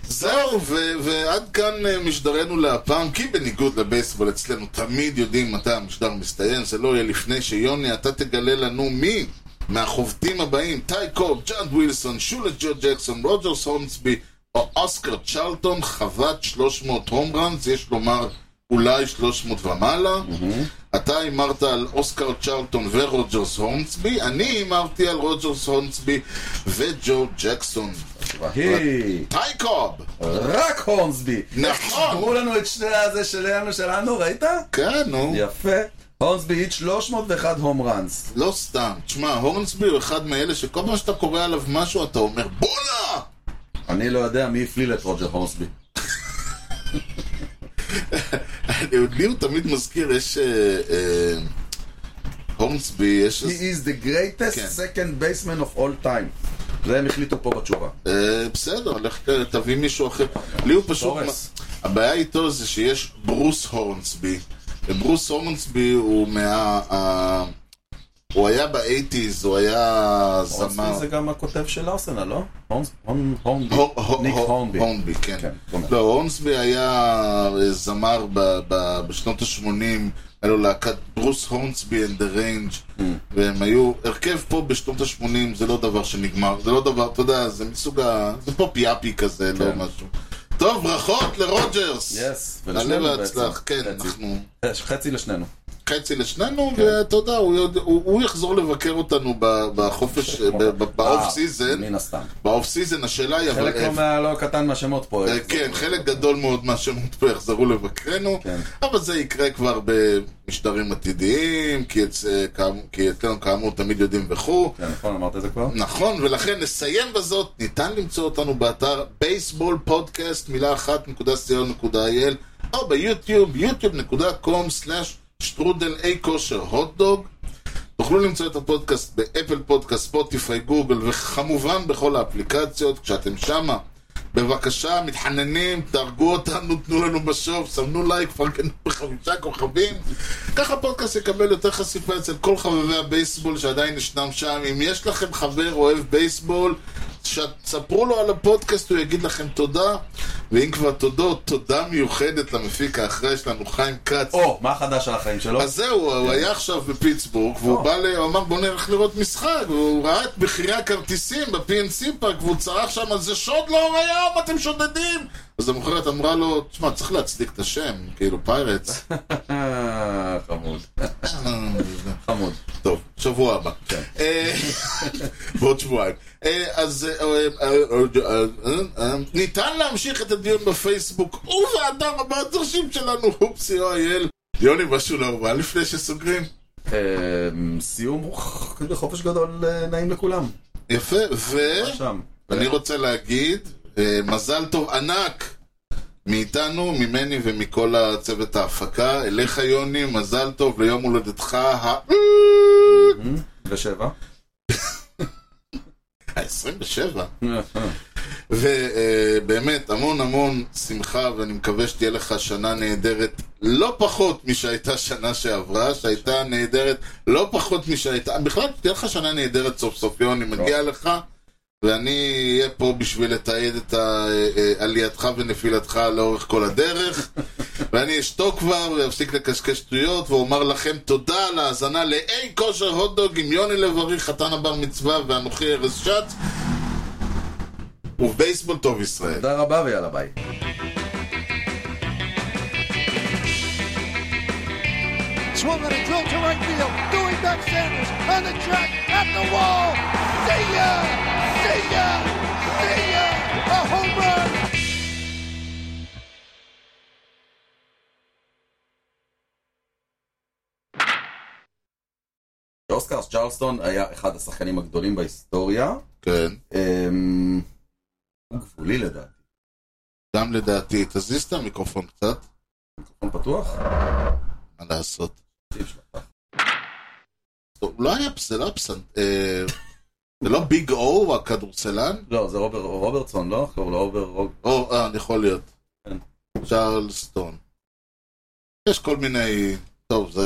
S2: זהו, ו- ועד כאן אה, משדרנו להפעם, כי בניגוד לבייסבול אצלנו תמיד יודעים מתי המשדר מסתיים, זה לא יהיה לפני שיוני, אתה תגלה לנו מי מהחובטים הבאים, טי קוב, ג'אד ווילסון, שולה ג'ו ג'קסון, רוג'רס הורנסבי, או אוסקר צ'רלטון, חבט 300 הום ראנס, יש לומר אולי 300 ומעלה. אתה הימרת על אוסקר צ'רלטון ורוג'רס הורנסבי, אני הימרתי על רוג'רס הורנסבי וג'ו ג'קסון.
S1: היא
S2: טי קוב!
S1: רק הורנסבי.
S2: נכון!
S1: אמרו לנו את שני הזה שלנו שלנו, ראית?
S2: כן, נו.
S1: יפה. הורנסבי היט 301 הום ראנס.
S2: לא סתם. תשמע, הורנסבי הוא אחד מאלה שכל פעם שאתה קורא עליו משהו, אתה אומר, בואנה!
S1: אני לא יודע מי הפליל את רוג'ר הורנסבי.
S2: אני- לי הוא תמיד מזכיר, יש... אה, אה, הורנסבי, יש...
S1: He is the greatest
S2: כן.
S1: second baseman of all time. זה הם החליטו פה בתשובה.
S2: אה, בסדר, לך ת- תביא מישהו אחר. לי הוא פשוט...
S1: תורס.
S2: הבעיה איתו זה שיש ברוס הורנסבי. ברוס הורנסבי הוא מה... ה- הוא היה באייטיז, הוא היה
S1: הורנסבי
S2: זמר.
S1: זה גם הכותב של ארסנל, לא? הורנס- הורנ- הורנבי.
S2: הו- הו-
S1: ניק
S2: הו-
S1: הורנבי.
S2: הורנבי, כן.
S1: כן, דומה.
S2: לא, הורנסבי היה אה, זמר ב- ב- בשנות ה-80, היה לו להקת ברוס הורנסבי and the range, והם היו, הרכב פה בשנות ה-80 זה לא דבר שנגמר, זה לא דבר, אתה יודע, זה מסוג ה... זה פופ יאפי כזה, לא משהו. טוב, ברכות לרוג'רס!
S1: יס,
S2: עלה
S1: ולשנינו
S2: והצלח,
S1: בעצם.
S2: כן,
S1: חצי.
S2: אנחנו
S1: יש אה, חצי לשנינו.
S2: חצי לשנינו, ואתה יודע, הוא יודע- הוא הוא יחזור לבקר אותנו ב- בחופש, כן, ב- ב-
S1: אה,
S2: באוף סיזן.
S1: מן הסתם.
S2: באוף סיזן השאלה היא, אבל
S1: חלק לא מה- לא קטן מהשמות פה.
S2: אה, כן, חלק גדול מאוד מהשמות פה יחזרו לבקרנו,
S1: כן.
S2: אבל זה יקרה כבר במשדרים עתידיים, כי אצ- אה, כאמ- כי אצלנו כאמור תמיד יודעים וכו'.
S1: כן, נכון, אמרת את זה כבר?
S2: נכון, ולכן נסיים בזאת, ניתן למצוא אותנו באתר בייסבול פודקאסט, מילה אחת, נקודה סיון, נקודה אייל, או ביוטיוב, yוטיוב.com/שטרודל איי כושר הוטדוג. תוכלו למצוא את הפודקאסט באפל פודקאסט, ספוטיפיי, גוגל, וכמובן בכל האפליקציות, כשאתם שמה. בבקשה, מתחננים, תהרגו אותנו, תנו לנו בשוב, סמנו לייק, פרגנו בחמישה כוכבים. ככה הפודקאסט יקבל יותר חשיפה אצל כל חובבי הבייסבול שעדיין ישנם שם. אם יש לכם חבר אוהב בייסבול, ש- ספרו לו על הפודקאסט, הוא יגיד לכם תודה. ואם כבר תודות, תודה מיוחדת למפיק האחראי שלנו, חיים כץ.
S1: או, מה חדש על החיים שלו?
S2: אז זהו, הוא היה עכשיו בפיטסבורג, והוא
S1: או.
S2: בא, ל- הוא אמר בוא נלך לראות משחק, והוא ראה את מחירי הכרטיסים ב-PNC פארק, והוא צרח שם על זה שוד לאור הים, אתם שודדים! אז המוכרת אמרה לו, תשמע, צריך להצדיק את השם, כאילו פיירטס.
S1: אה, חמוד. חמוד.
S2: טוב, שבוע הבא. אה, בעוד שבועיים. אה, אז אה, אה, אה, אה, אה, אה, ניתן להמשיך את הדיון בפייסבוק ובאתר המעצרשים שלנו, הופסי או אייל. יוני, משהו נורמל לפני שסוגרים?
S1: אמ, סיום חופש גדול אה, נעים לכולם.
S2: יפה, ו...
S1: מה שם.
S2: אני רוצה להגיד, אה, מזל טוב ענק מאיתנו, ממני ומכל הצוות ההפקה. אליך יוני, מזל טוב ליום הולדתך ה...
S1: אה? ושבע.
S2: ה- 27. ובאמת, המון המון שמחה, ואני מקווה שתהיה לך שנה נהדרת לא פחות משהייתה שנה שעברה, שהייתה נהדרת לא פחות משהייתה... בכלל, תהיה לך שנה נהדרת סוף סוף, יוני, מגיע לך, ואני אהיה פה בשביל לתעד את ה- אה, עלייתך ונפילתך לאורך כל הדרך,
S1: (laughs)
S2: ואני אשתוק כבר ואפסיק לקשקש שטויות, ואומר לכם תודה על ההאזנה לאי כושר הוטדוג עם יוני לב-ארי, חתן הבר מצווה, ואנוכי ארז שץ. ובייסבול טוב ישראל.
S1: תודה רבה ויאללה ביי.
S7: Swung on a drill to right field. Doing back Sanders on the track at the wall. See ya! See ya! See ya! A home run!
S1: אוסקר צ'רלסטון היה אחד השחקנים הגדולים בהיסטוריה.
S2: כן.
S1: אמ, הוא גבולי לדעתי.
S2: גם לדעתי, תזיז את המיקרופון קצת,
S1: נכון פתוח?
S2: מה לעשות.
S1: תקשיב שלך.
S2: טוב, לא היה, זה לא פסנט... אה, זה לא ביג או הכדורסלן?
S1: לא, זה רובר- רוברטסון, לא? איך קוראים לו רובר... רוג-
S2: או, אה, יכול להיות.
S1: כן.
S2: צ'רלסטון. יש כל מיני... טוב, זה...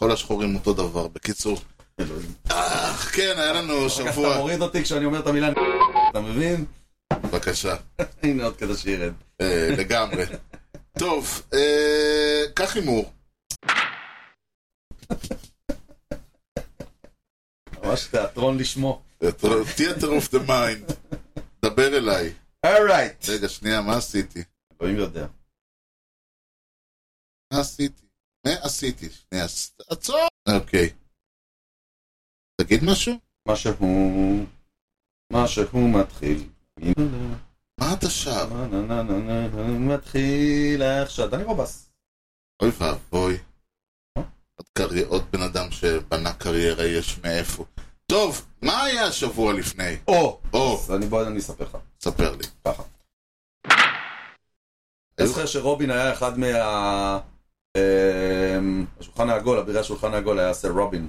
S2: כל השחורים אותו דבר, בקיצור.
S1: אלוהים.
S2: אה, כן, היה לנו
S1: ככה
S2: שבוע...
S1: אתה מוריד אותי כשאני אומר את המילה נ... אתה מבין?
S2: בבקשה.
S1: הנה עוד כזה שירד.
S2: אה, לגמרי. טוב, אה, קח הימור.
S1: ממש תיאטרון לשמו.
S2: תיאטר אוף דה מיינד. דבר אליי.
S1: אורייט.
S2: רגע, שנייה, מה עשיתי?
S1: אלוהים יודע.
S2: מה עשיתי? מה עשיתי? שנייה, ס- עצור! אוקיי. תגיד משהו?
S1: מה שהוא... מה שהוא מתחיל.
S2: מה אתה שר?
S1: נה, נה, נה, נה, נה, נה, מתחיל עכשיו. דני רובס.
S2: אוי ואבוי.
S1: אה?
S2: עוד קרי- עוד בן אדם שבנה קריירה יש מאיפה. טוב, מה היה השבוע לפני?
S1: או!
S2: או,
S1: אז אני בוא אני אספר לך.
S2: ספר לי. (laughs)
S1: ככה. אני זוכר שרובין היה אחד מה... אמ, השולחן העגול, אבירי השולחן העגול היה סר רובין.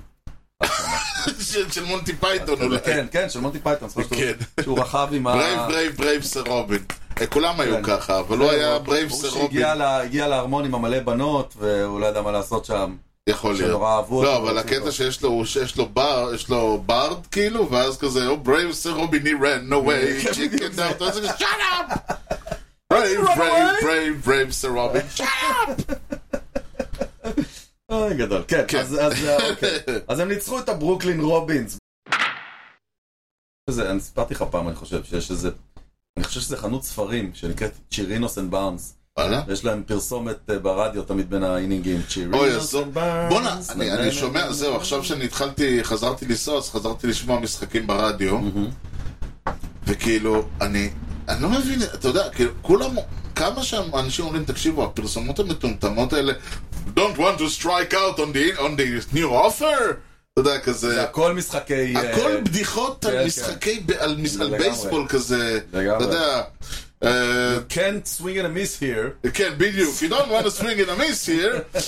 S2: של של מונטי פייתון אולי.
S1: כן, כן, של מונטי פייתון. זאת אומרת שהוא-
S2: לא, (laughs) כן.
S1: שהוא רכב
S2: (laughs)
S1: עם ה...
S2: ברייב ברייב ברייב סר רובין. אה, כולם
S1: כן.
S2: היו ככה, אבל הוא היה ברייב סר
S1: הוא
S2: רובין.
S1: שהגיע לה- הגיע להרמון עם המלא בנות, והוא לא ידע מה לעשות שם.
S2: יכול להיות.
S1: שנורא אהבו
S2: לא,
S1: אותו,
S2: אבל
S1: רוצים
S2: הקטע
S1: אותו.
S2: שיש לו, הוא שיש לו בר, יש לו ברד, כאילו, ואז כזה, oh, brave sir Robin, he ran away,
S1: (laughs) כן,
S2: chicken
S1: בדיוק זה.
S2: down, (laughs) אתה כזה,
S1: (laughs)
S2: shut up! brave, brave, brave, brave sir Robin,
S1: (laughs)
S2: shut
S1: אוי, גדול. כן,
S2: כן.
S1: אז- אז אה, אוקיי.
S2: up!
S1: אז הם ניצחו את הברוקלין רובינס. זה, אני סיפרתי לך פעם, אני חושב, שיש איזה... אני חושב שזה חנות ספרים שנקראת צ'ירינוס אנד בארנס.
S2: וואלה?
S1: יש להם פרסומת אה, ברדיו תמיד בין האינינגים.
S2: אוי,
S1: צ'ירינוס
S2: אז
S1: אנד בארנס.
S2: לא בואנה, אני אני
S1: לא
S2: שומע, זהו, עכשיו שאני התחלתי, חזרתי לנסוע, אז חזרתי לשמוע משחקים ברדיו, וכאילו, אני, אני לא מבין, אתה יודע, כאילו, כולם, כמה שאנשים אומרים, תקשיבו, הפרסומות המטומטמות האלה, don't want to strike out on the, on the new offer, אתה יודע,
S1: זה
S2: כזה,
S1: הכל משחקי... אה,
S2: הכל בדיחות
S1: כן,
S2: על
S1: כן.
S2: משחקי, ב- על מס- על
S1: לגמרי.
S2: בייסבול כזה, אתה
S1: לגמרי.
S2: יודע, אה,
S1: Can't swing and a miss here.
S2: כן, בדיוק. You don't want to swing in a miss here.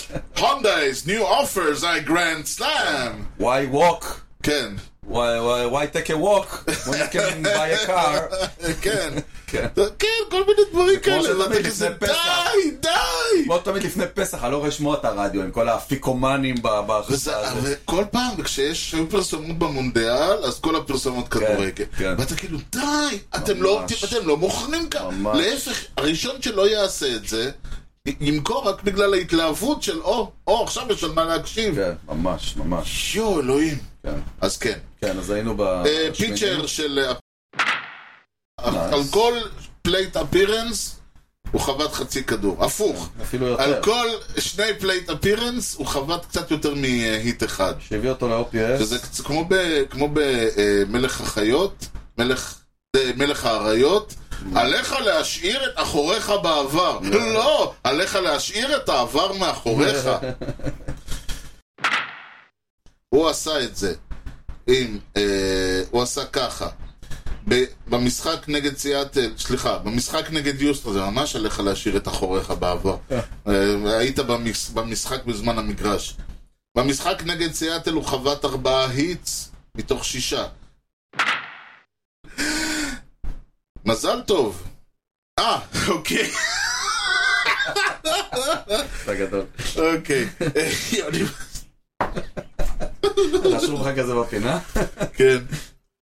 S2: Honda's new offers are grand slam.
S1: Why walk?
S2: כן.
S1: why, why, why take a walk when you can buy
S2: (laughs)
S1: a car?
S2: כן.
S1: כן.
S2: כן, כל מיני דברים
S1: כמו
S2: כאלה.
S1: שתמיד
S2: ואתה כזה,
S1: לפני פסח.
S2: די, די!
S1: כמו תמיד לפני פסח, אני לא רואה לשמוע את הרדיו עם כל האפיקומנים ב-
S2: וזה-
S1: בהכנסה הזאת.
S2: וכל פעם, כשיש היו פרסומות במונדיאל, אז כל הפרסומות כדורגל.
S1: כן.
S2: ואתה כאילו, די! אתם לא-
S1: ממש.
S2: אתם לא מוכרים ככה.
S1: ממש.
S2: להפך, הראשון שלא יעשה את זה, י- ימכור רק בגלל ההתלהבות של, או, או, עכשיו יש על מה להקשיב.
S1: כן, ממש, ממש.
S2: יואו, אלוהים.
S1: כן.
S2: אז כן.
S1: כן, אז היינו ב...
S2: אה, פיצ'ר של... אה,
S1: Nice.
S2: על כל פלייט אפירנס הוא חבט חצי כדור. הפוך.
S1: כן, אפילו יותר.
S2: על כל שני פלייט אפירנס הוא חבט קצת יותר מהיט אחד.
S1: שהביא אותו ל-OPS.
S2: שזה קצ- כמו ב- כמו במלך החיות, מלך... זה מלך האריות,
S1: Mm.
S2: עליך להשאיר את אחוריך בעבר. לא, עליך להשאיר את העבר מאחוריך. הוא עשה את זה. עם, אה, הוא עשה ככה. ב- במשחק נגד סיאטל, סליחה, במשחק נגד יוסטר, זה ממש עליך להשאיר את אחוריך בעבר. אה, היית במש, במשחק בזמן המגרש. במשחק נגד סיאטל הוא חבט ארבעה היטס מתוך שישה. מזל טוב. אה, אוקיי,
S1: אתה
S2: (laughs)
S1: גדול.
S2: אוקיי. יוני,
S1: רשום לך כזה בפינה?
S2: כן.